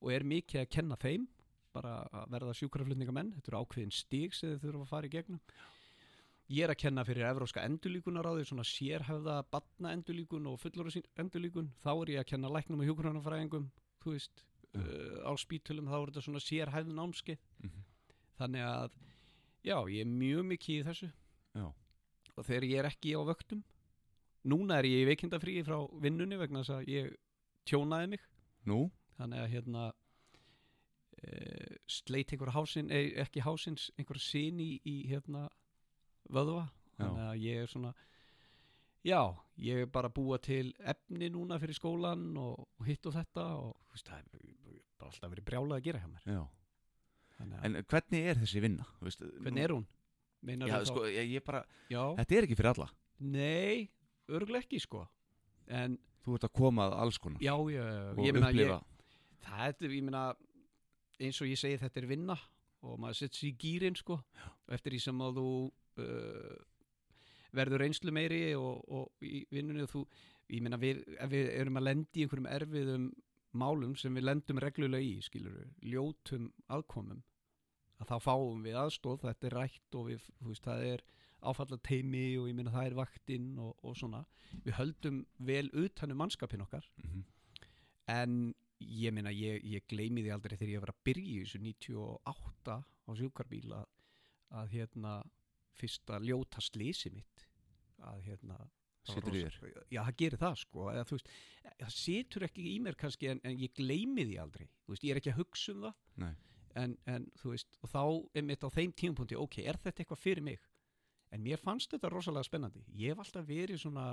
Speaker 4: og er mikið að kenna þeim bara að verða sjúkraflutningamenn þetta eru ákveðin stíg sem þau þurfa að fara í gegnum ég er að kenna fyrir evróska endurlíkunaráði svona sérhæfða batna endurlíkun og fullorðis endurlíkun þá er ég að kenna læknum og hjúkrunarfræðingum þú veist,
Speaker 1: Já.
Speaker 4: uh, á spítulum þá er þetta svona sérhæfð námskeið
Speaker 1: Mm. Mhm.
Speaker 4: þannig að já, ég er mjög mikið í þessu
Speaker 1: Já.
Speaker 4: og þegar ég er ekki á vöktum núna er ég í veikindafríi frá vinnunni vegna þess að ég tjónaði mig
Speaker 1: Nú?
Speaker 4: þannig að hérna e, sleit einhver hásinn e, ekki hásinn, einhver sín í, í hérna vöðva
Speaker 1: Já.
Speaker 4: þannig að ég er svona já, ég er bara að búa til efni núna fyrir skólan og, og hitt og þetta og þú veist, það er bara alltaf verið brjálað að gera hjá mér
Speaker 1: Já.
Speaker 4: þannig að,
Speaker 1: En hvernig er þessi vinna? Þú Veist,
Speaker 4: hvernig er hún? Meinar
Speaker 1: Já,
Speaker 4: þú þá-
Speaker 1: sko, ég, ég bara,
Speaker 4: já,
Speaker 1: þetta er ekki fyrir alla.
Speaker 4: nei örglega ekki sko en
Speaker 1: Þú ert að koma að alls konar
Speaker 4: já, já, já,
Speaker 1: og
Speaker 4: ég meina ég,
Speaker 1: upplifa.
Speaker 4: Það er, þetta, ég meina, eins og ég segi þetta er vinna og maður sett sér í gýrin sko og eftir því sem að þú uh, verður reynslu meiri og, og í vinnunni þú, ég meina við, ef við erum að lendi í einhverjum erfiðum málum sem við lendum reglulega í, skilur ljótum aðkomum að þá fáum við aðstóð, þetta er rætt og við, þú veist, það er áfallateimi og ég meina það er vaktinn og, og svona, við höldum vel utanum mannskapin okkar
Speaker 1: Mhm.
Speaker 4: en ég meina, ég, ég gleymi því aldrei þegar ég var að byrja í þessu 98 á sjúkarbíl að, að hérna fyrsta ljóta slisi mitt að hérna það var
Speaker 1: Situr í
Speaker 4: rosa- Já, það gerir það sko eða, þú veist, það situr ekki í mér kannski en, en ég gleymi því aldrei þú veist, ég er ekki að hugsa um það
Speaker 1: Nei.
Speaker 4: en, en þú veist, og þá er mitt á þeim tímapunkti, ok, er þetta eitthvað fyrir mig en mér fannst þetta rosalega spennandi ég hef alltaf verið svona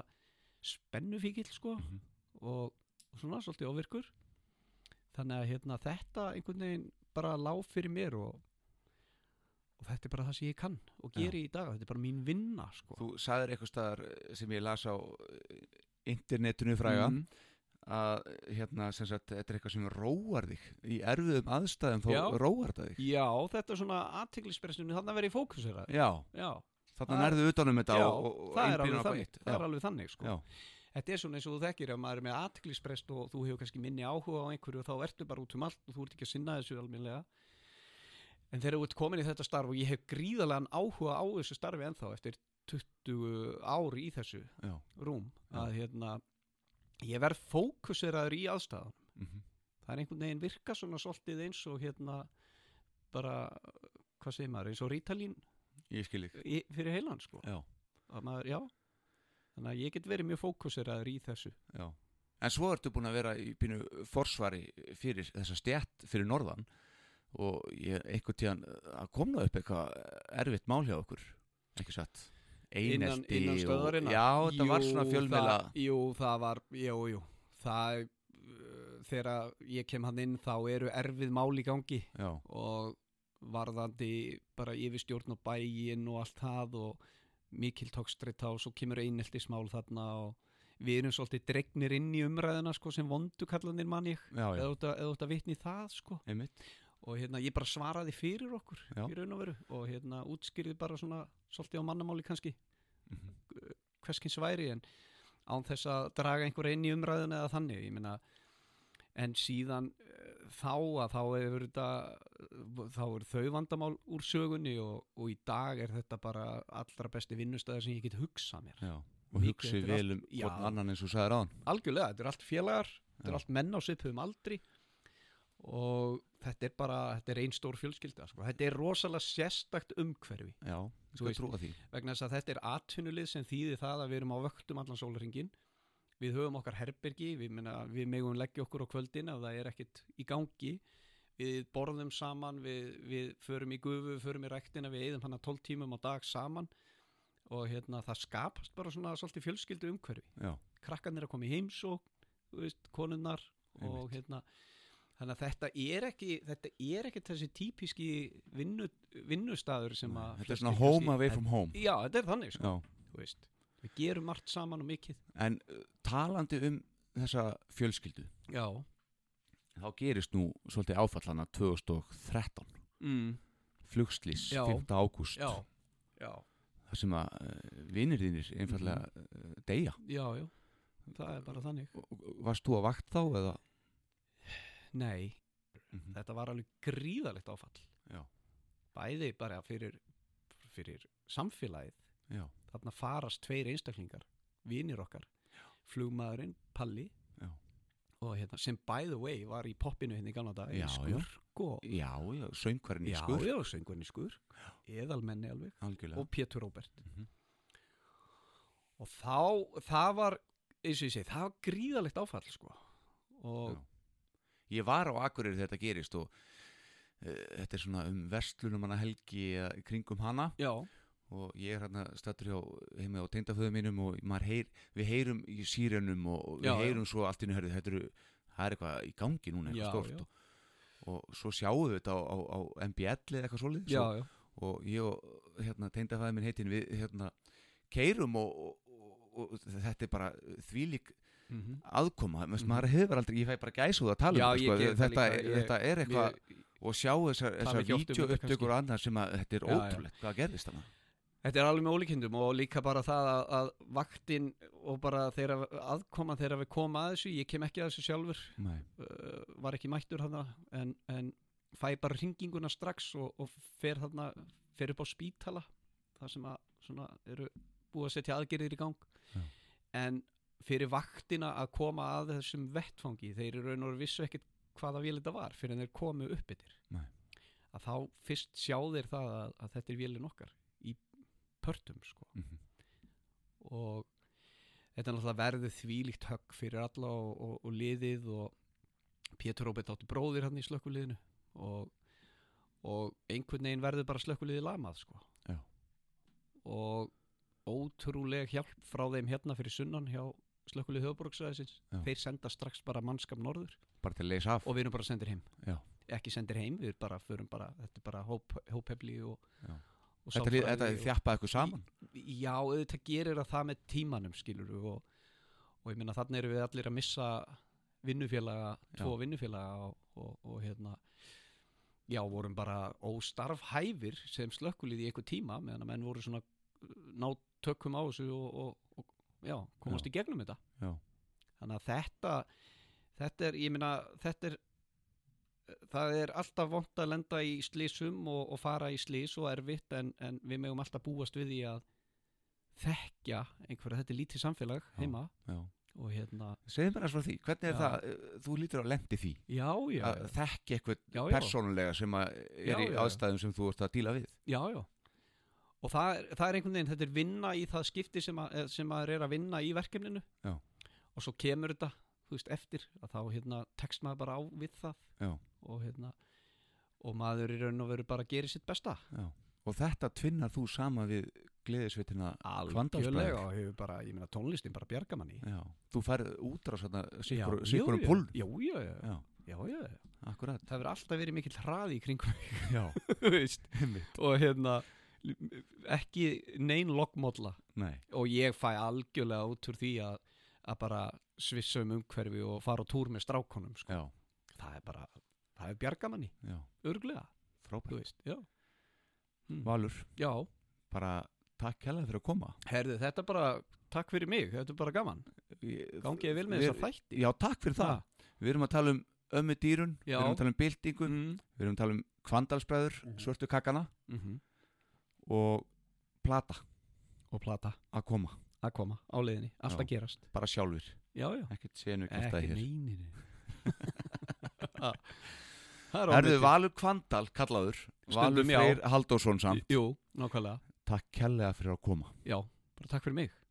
Speaker 4: spennufíkil sko
Speaker 1: Mhm.
Speaker 4: og, og svona svolítið ofirkur þannig að hérna, þetta einhvern veginn bara lág fyrir mér og, og þetta er bara það sem ég kann og
Speaker 1: Já.
Speaker 4: geri í dag, þetta er bara mín vinna sko.
Speaker 1: Þú sagðir eitthvað staðar eh, sem ég las á eh, internetinu fræga
Speaker 4: Mhm.
Speaker 1: að hérna, sem sagt, þetta er eitthvað sem róar þig í erfiðum aðstæðum þá
Speaker 4: Já.
Speaker 1: róar þetta þig
Speaker 4: Já, þetta er svona aðtiklispressunni, þannig að vera í fókusera
Speaker 1: Já,
Speaker 4: Já,
Speaker 1: þarna
Speaker 4: Það-
Speaker 1: nærðu utanum þetta
Speaker 4: já
Speaker 1: og, og, og
Speaker 4: það, er
Speaker 1: einblínir á eitthvað
Speaker 4: alveg þannig,
Speaker 1: eitt.
Speaker 4: það er
Speaker 1: Já.
Speaker 4: alveg þannig sko.
Speaker 1: Já.
Speaker 4: Þetta er svona eins og þú þekkir ef maður er með aðtiklisprest og þú hefur kannski minni áhuga á einhverju og þá ertu bara út um allt og þú ert ekki að sinna þessu alminlega En þegar þú ert komin í þetta starf og ég hef gríðalegan áhuga á þessu starfi ennþá eftir 20 ár í þessu
Speaker 1: Já.
Speaker 4: rúm
Speaker 1: Já.
Speaker 4: að hérna ég verð fókuseraður í aðstæðan
Speaker 1: Mhm.
Speaker 4: það er einhvern veginn virka svona svolítið eins og hérna bara, hvað segir maður, eins og rítalín
Speaker 1: Ég skil þig
Speaker 4: í- fyrir heilan sko
Speaker 1: Já,
Speaker 4: Að maður, já, þannig að ég get verið mjög fókuseraður í þessu
Speaker 1: já En svo ertu búin að vera í pínu forsvari fyrir þessa stjætt fyrir norðan og ég einhvern tíðan að komna upp eitthvað erfitt mál hjá okkur ekki satt
Speaker 4: innan,
Speaker 1: Einelti
Speaker 4: innan stöðarinnar
Speaker 1: og, Já, þetta var svona fjölmela
Speaker 4: það, Jú, það var, jú, jú það, uh, þegar ég kem hann inn þá eru erfið mál í gangi
Speaker 1: Já,
Speaker 4: og varðandi bara yfirstjórn og bæin og allt það og mikil tókstrita og svo kemur eineltismál þarna og við erum svolítið dregnir inn í umræðina sko sem vondukallanir mann ég
Speaker 1: já, já,
Speaker 4: eða út að, eða út að vitni í það sko
Speaker 1: einmitt
Speaker 4: og hérna ég bara svaraði fyrir okkur
Speaker 1: Já.
Speaker 4: í raun og veru og hérna útskýrði bara svona svolítið á mannamáli kannski
Speaker 1: Mhm.
Speaker 4: hverskins væri en án þess að draga einhverja inn í umræðuna eða þannig ég meina en síðan eh, þá að þá hefur þetta þá er þau vandamál úr sögunni og, og í dag er þetta bara allra besti vinnustæðar sem ég get hugsað mér
Speaker 1: já. Og
Speaker 4: Mikið
Speaker 1: hugsi
Speaker 4: eftir
Speaker 1: vel um
Speaker 4: allt- Já.
Speaker 1: hvort annan eins og sagði ráðan
Speaker 4: algjörlega, þetta er allt félagar þetta
Speaker 1: Já.
Speaker 4: er allt menn á svipuðum aldri og þetta er bara þetta er ein stór fjölskylda, sko. þetta er rosalega sérstakt umhverfi
Speaker 1: Já,
Speaker 4: Þú
Speaker 1: þú
Speaker 4: veist-
Speaker 1: trúa því
Speaker 4: vegna þess að þetta er atvinnulið sem þýðir það að við erum á vöktum allan sólringin við höfum okkar herbergi við, minna, við megum leggja okkur á kvöldin ef það er ekkit í gangi við borðum saman, við, við förum í gufu, við förum í rektina, við eigðum hann að 12 tímum á dag saman og hérna það skapast bara svona svolítið fjölskyldu umhverfi,
Speaker 1: já,
Speaker 4: krakkarnir að koma í heimsók, þú veist, konunnar og hérna þannig að þetta er ekki, þetta er ekki þessi típiski vinnu, vinnustaður sem að
Speaker 1: þetta er
Speaker 4: flestir
Speaker 1: svona
Speaker 4: kannski-
Speaker 1: home away from home
Speaker 4: Já, þetta er þannig sko
Speaker 1: já.
Speaker 4: þú veist, við gerum margt saman og mikið
Speaker 1: en uh, talandi um þessa fjölskyldu
Speaker 4: já,
Speaker 1: þá gerist nú svolítið áfallana 2013
Speaker 4: mm.
Speaker 1: flugslís
Speaker 4: Já.
Speaker 1: 5. ágúst
Speaker 4: já, já,
Speaker 1: þar sem að uh, vinnir þínir einfallega
Speaker 4: Mhm.
Speaker 1: uh, deyja
Speaker 4: já, já það er bara þannig
Speaker 1: Og- og- varst þú að vakt þá eða
Speaker 4: nei,
Speaker 1: Mhm.
Speaker 4: þetta var alveg gríðalegt áfall
Speaker 1: Já.
Speaker 4: bæði bara fyrir, fyrir samfélagið
Speaker 1: já,
Speaker 4: þarna farast tveir einstaklingar vinir okkar, flugmaðurinn Palli
Speaker 1: Já.
Speaker 4: og hérna, sem by the way var í poppinu hérna í gamla dag
Speaker 1: Já,
Speaker 4: í
Speaker 1: já.
Speaker 4: skurk og
Speaker 1: já, já söngvarinn í
Speaker 4: já,
Speaker 1: skur
Speaker 4: já, söngurinn í skurk eðalmenni alveg
Speaker 1: algjörlega
Speaker 4: og Pétur Róbert
Speaker 1: Mhm.
Speaker 4: og þá það var, eins og ég segi, það var gríðalegt áfall sko og
Speaker 1: Já. ég var á Akureyri þegar þetta gerist og uh, þetta er svona um verslunum hana helgi eða í kringum hana
Speaker 4: já,
Speaker 1: og ég er hérna stættur hjá heima á teyndaföðu mínum og maður heyr, við heyrum í sírenum og og við
Speaker 4: Já, já.
Speaker 1: heyrum svo allt innu herðu, þetta eru, það er eitthvað í gangi núna
Speaker 4: Já,
Speaker 1: eitthvað stort
Speaker 4: já.
Speaker 1: Og, og svo sjáum við þetta á, á, á MBL eða eitthvað svoleiðis
Speaker 4: já,
Speaker 1: og,
Speaker 4: já,
Speaker 1: og ég og hérna, teyndafæði minn heitinn við hérna, keirum og, og, og, og þetta er bara þvílík
Speaker 4: Mhm.
Speaker 1: aðkoma mm
Speaker 4: Mhm.
Speaker 1: maður hefur aldrei, ég fæ bara gæs út að tala
Speaker 4: Já,
Speaker 1: um
Speaker 4: ég
Speaker 1: þetta, sko.
Speaker 4: geri það
Speaker 1: þetta,
Speaker 4: líka,
Speaker 1: er-
Speaker 4: ég-
Speaker 1: þetta er eitthvað
Speaker 4: Mér-
Speaker 1: og sjá þessar, þessar
Speaker 4: ekki oft um þetta
Speaker 1: vídeoupptökur og annað sem að þetta er
Speaker 4: Já, já.
Speaker 1: ótrúlegt hvað gerðist þarna
Speaker 4: Þetta er alveg með ólíkindum og líka bara það að, að vaktin og bara þeirra aðkoma þeirra við koma að þessu, ég kem ekki að þessu sjálfur
Speaker 1: Nei.
Speaker 4: uh, var ekki mættur hana en, en fæ bara hringinguna strax og, og fer þarna fer upp á spítala þar sem að svona, eru búið að setja aðgerðir í gang
Speaker 1: Já.
Speaker 4: en fyrir vaktina að koma að þessum vettfangi þeir eru raun og veru vissu ekkert hvaða vél þetta var fyrir en þeir komu upp yfir
Speaker 1: Nei.
Speaker 4: að þá fyrst sjá þeir það að, að þetta er vélin okkar í pörtum sko
Speaker 1: Mhm.
Speaker 4: og þetta er náttúrulega verðið þvílíkt högg fyrir alla og, og, og liðið og Pétur Róbert átti bróðir hann í slökkuliðinu og, og einhvern veginn verður bara slökkuliðið lamað sko.
Speaker 1: Já.
Speaker 4: og ótrúleg hjálp frá þeim hérna fyrir sunnan hjá slökkulið höfuborgsræðisins
Speaker 1: Já.
Speaker 4: þeir senda strax bara mannskap norður
Speaker 1: bara til að leysa af
Speaker 4: og við erum bara sendir heim
Speaker 1: Já.
Speaker 4: ekki sendir heim, við bara förum bara þetta er bara hóp, hóphefli og,
Speaker 1: Já.
Speaker 4: og
Speaker 1: þetta, lið- þetta
Speaker 4: sálfræði og-
Speaker 1: þjappaði ykkur saman
Speaker 4: já, auðvitað gerir að það með tímanum skilur og, og ég meina þannig erum við allir að missa vinnufélaga, tvo vinnufélaga og, og, og hérna já, vorum bara óstarfhæfir sem slökkulið í einhver tíma meðan að menn voru svona uh, ná tökum á þessu og, og, og já, komast í gegnum þetta
Speaker 1: Já.
Speaker 4: þannig að þetta þetta er, ég meina, þetta er það er alltaf vont að lenda í slísum og, og fara í slís og erfitt en, en við megum alltaf búast við því að þekkja einhverja, þetta er lítið samfélag
Speaker 1: Já.
Speaker 4: heima
Speaker 1: Já.
Speaker 4: og hérna,
Speaker 1: segðu mér að frá því, hvernig er
Speaker 4: Já.
Speaker 1: það uh, þú lítur á lendi því
Speaker 4: já, já
Speaker 1: að þekki eitthvað
Speaker 4: já, já.
Speaker 1: persónulega sem að er
Speaker 4: Já,
Speaker 1: í
Speaker 4: já.
Speaker 1: aðstæðum sem þú ert að díla við
Speaker 4: Já, já. Og það er, það er einhvern veginn, þetta er vinna í það skipti sem, að, eh, sem maður er að vinna í verkefninu.
Speaker 1: Já.
Speaker 4: Og svo kemur þetta, þú veist, eftir að þá hérna tekst maður bara á við það.
Speaker 1: Já.
Speaker 4: Og hérna, og maður er raun og veru bara að gera sitt besta.
Speaker 1: og þetta tvinnar þú saman við gleðisveitina
Speaker 4: Algjörlega
Speaker 1: Hvanndalsbræður.
Speaker 4: og hefur bara, ég meina tónlistin bara bjarga manni.
Speaker 1: Já. þú færð útrás þarna sikkur,
Speaker 4: Já,
Speaker 1: sikkurum
Speaker 4: já, já.
Speaker 1: pól
Speaker 4: Já, já, já,
Speaker 1: um já,
Speaker 4: já, já, já.
Speaker 1: akkurat
Speaker 4: Það verður alltaf verið mikill hraði í kringum,
Speaker 1: já,
Speaker 4: þú veist,
Speaker 1: einmitt.
Speaker 4: og hérna, ekki nein loggmólla.
Speaker 1: Nei.
Speaker 4: og ég fæ algjörlega út úr því að, að bara svissa um umhverfi og fara á túr með strákonum sko.
Speaker 1: já,
Speaker 4: það er bara, það er bjargamanni
Speaker 1: já,
Speaker 4: örglega, þú
Speaker 1: frábært
Speaker 4: veist, já
Speaker 1: Valur,
Speaker 4: já,
Speaker 1: bara takk hella fyrir að koma
Speaker 4: herðu, þetta er bara takk fyrir mig, þetta er bara gaman gangið vel með
Speaker 1: Við-
Speaker 4: þessa þætti
Speaker 1: já, takk fyrir það, við erum að tala um ömmu dýrun, við
Speaker 4: Já.
Speaker 1: erum að tala um byltingu
Speaker 4: mm.
Speaker 1: við erum að tala um kvandalsbræður,
Speaker 4: Mhm.
Speaker 1: svörtu kakana
Speaker 4: Mm -hmm.
Speaker 1: og plata
Speaker 4: og plata
Speaker 1: að koma,
Speaker 4: að koma á leiðinni, allt
Speaker 1: Já.
Speaker 4: að gerast
Speaker 1: bara sjálfur
Speaker 4: já, já,
Speaker 1: ekkert sénu kæftæði
Speaker 4: ekki
Speaker 1: hér
Speaker 4: neyninni það er
Speaker 1: Erðu
Speaker 4: ofmetið.
Speaker 1: Valur Kvandal kallaður Valur
Speaker 4: Stundum, já.
Speaker 1: Freyr Haldórsson samt
Speaker 4: jú, nákvæmlega
Speaker 1: Takk kærlega fyrir að koma
Speaker 4: já, bara takk fyrir mig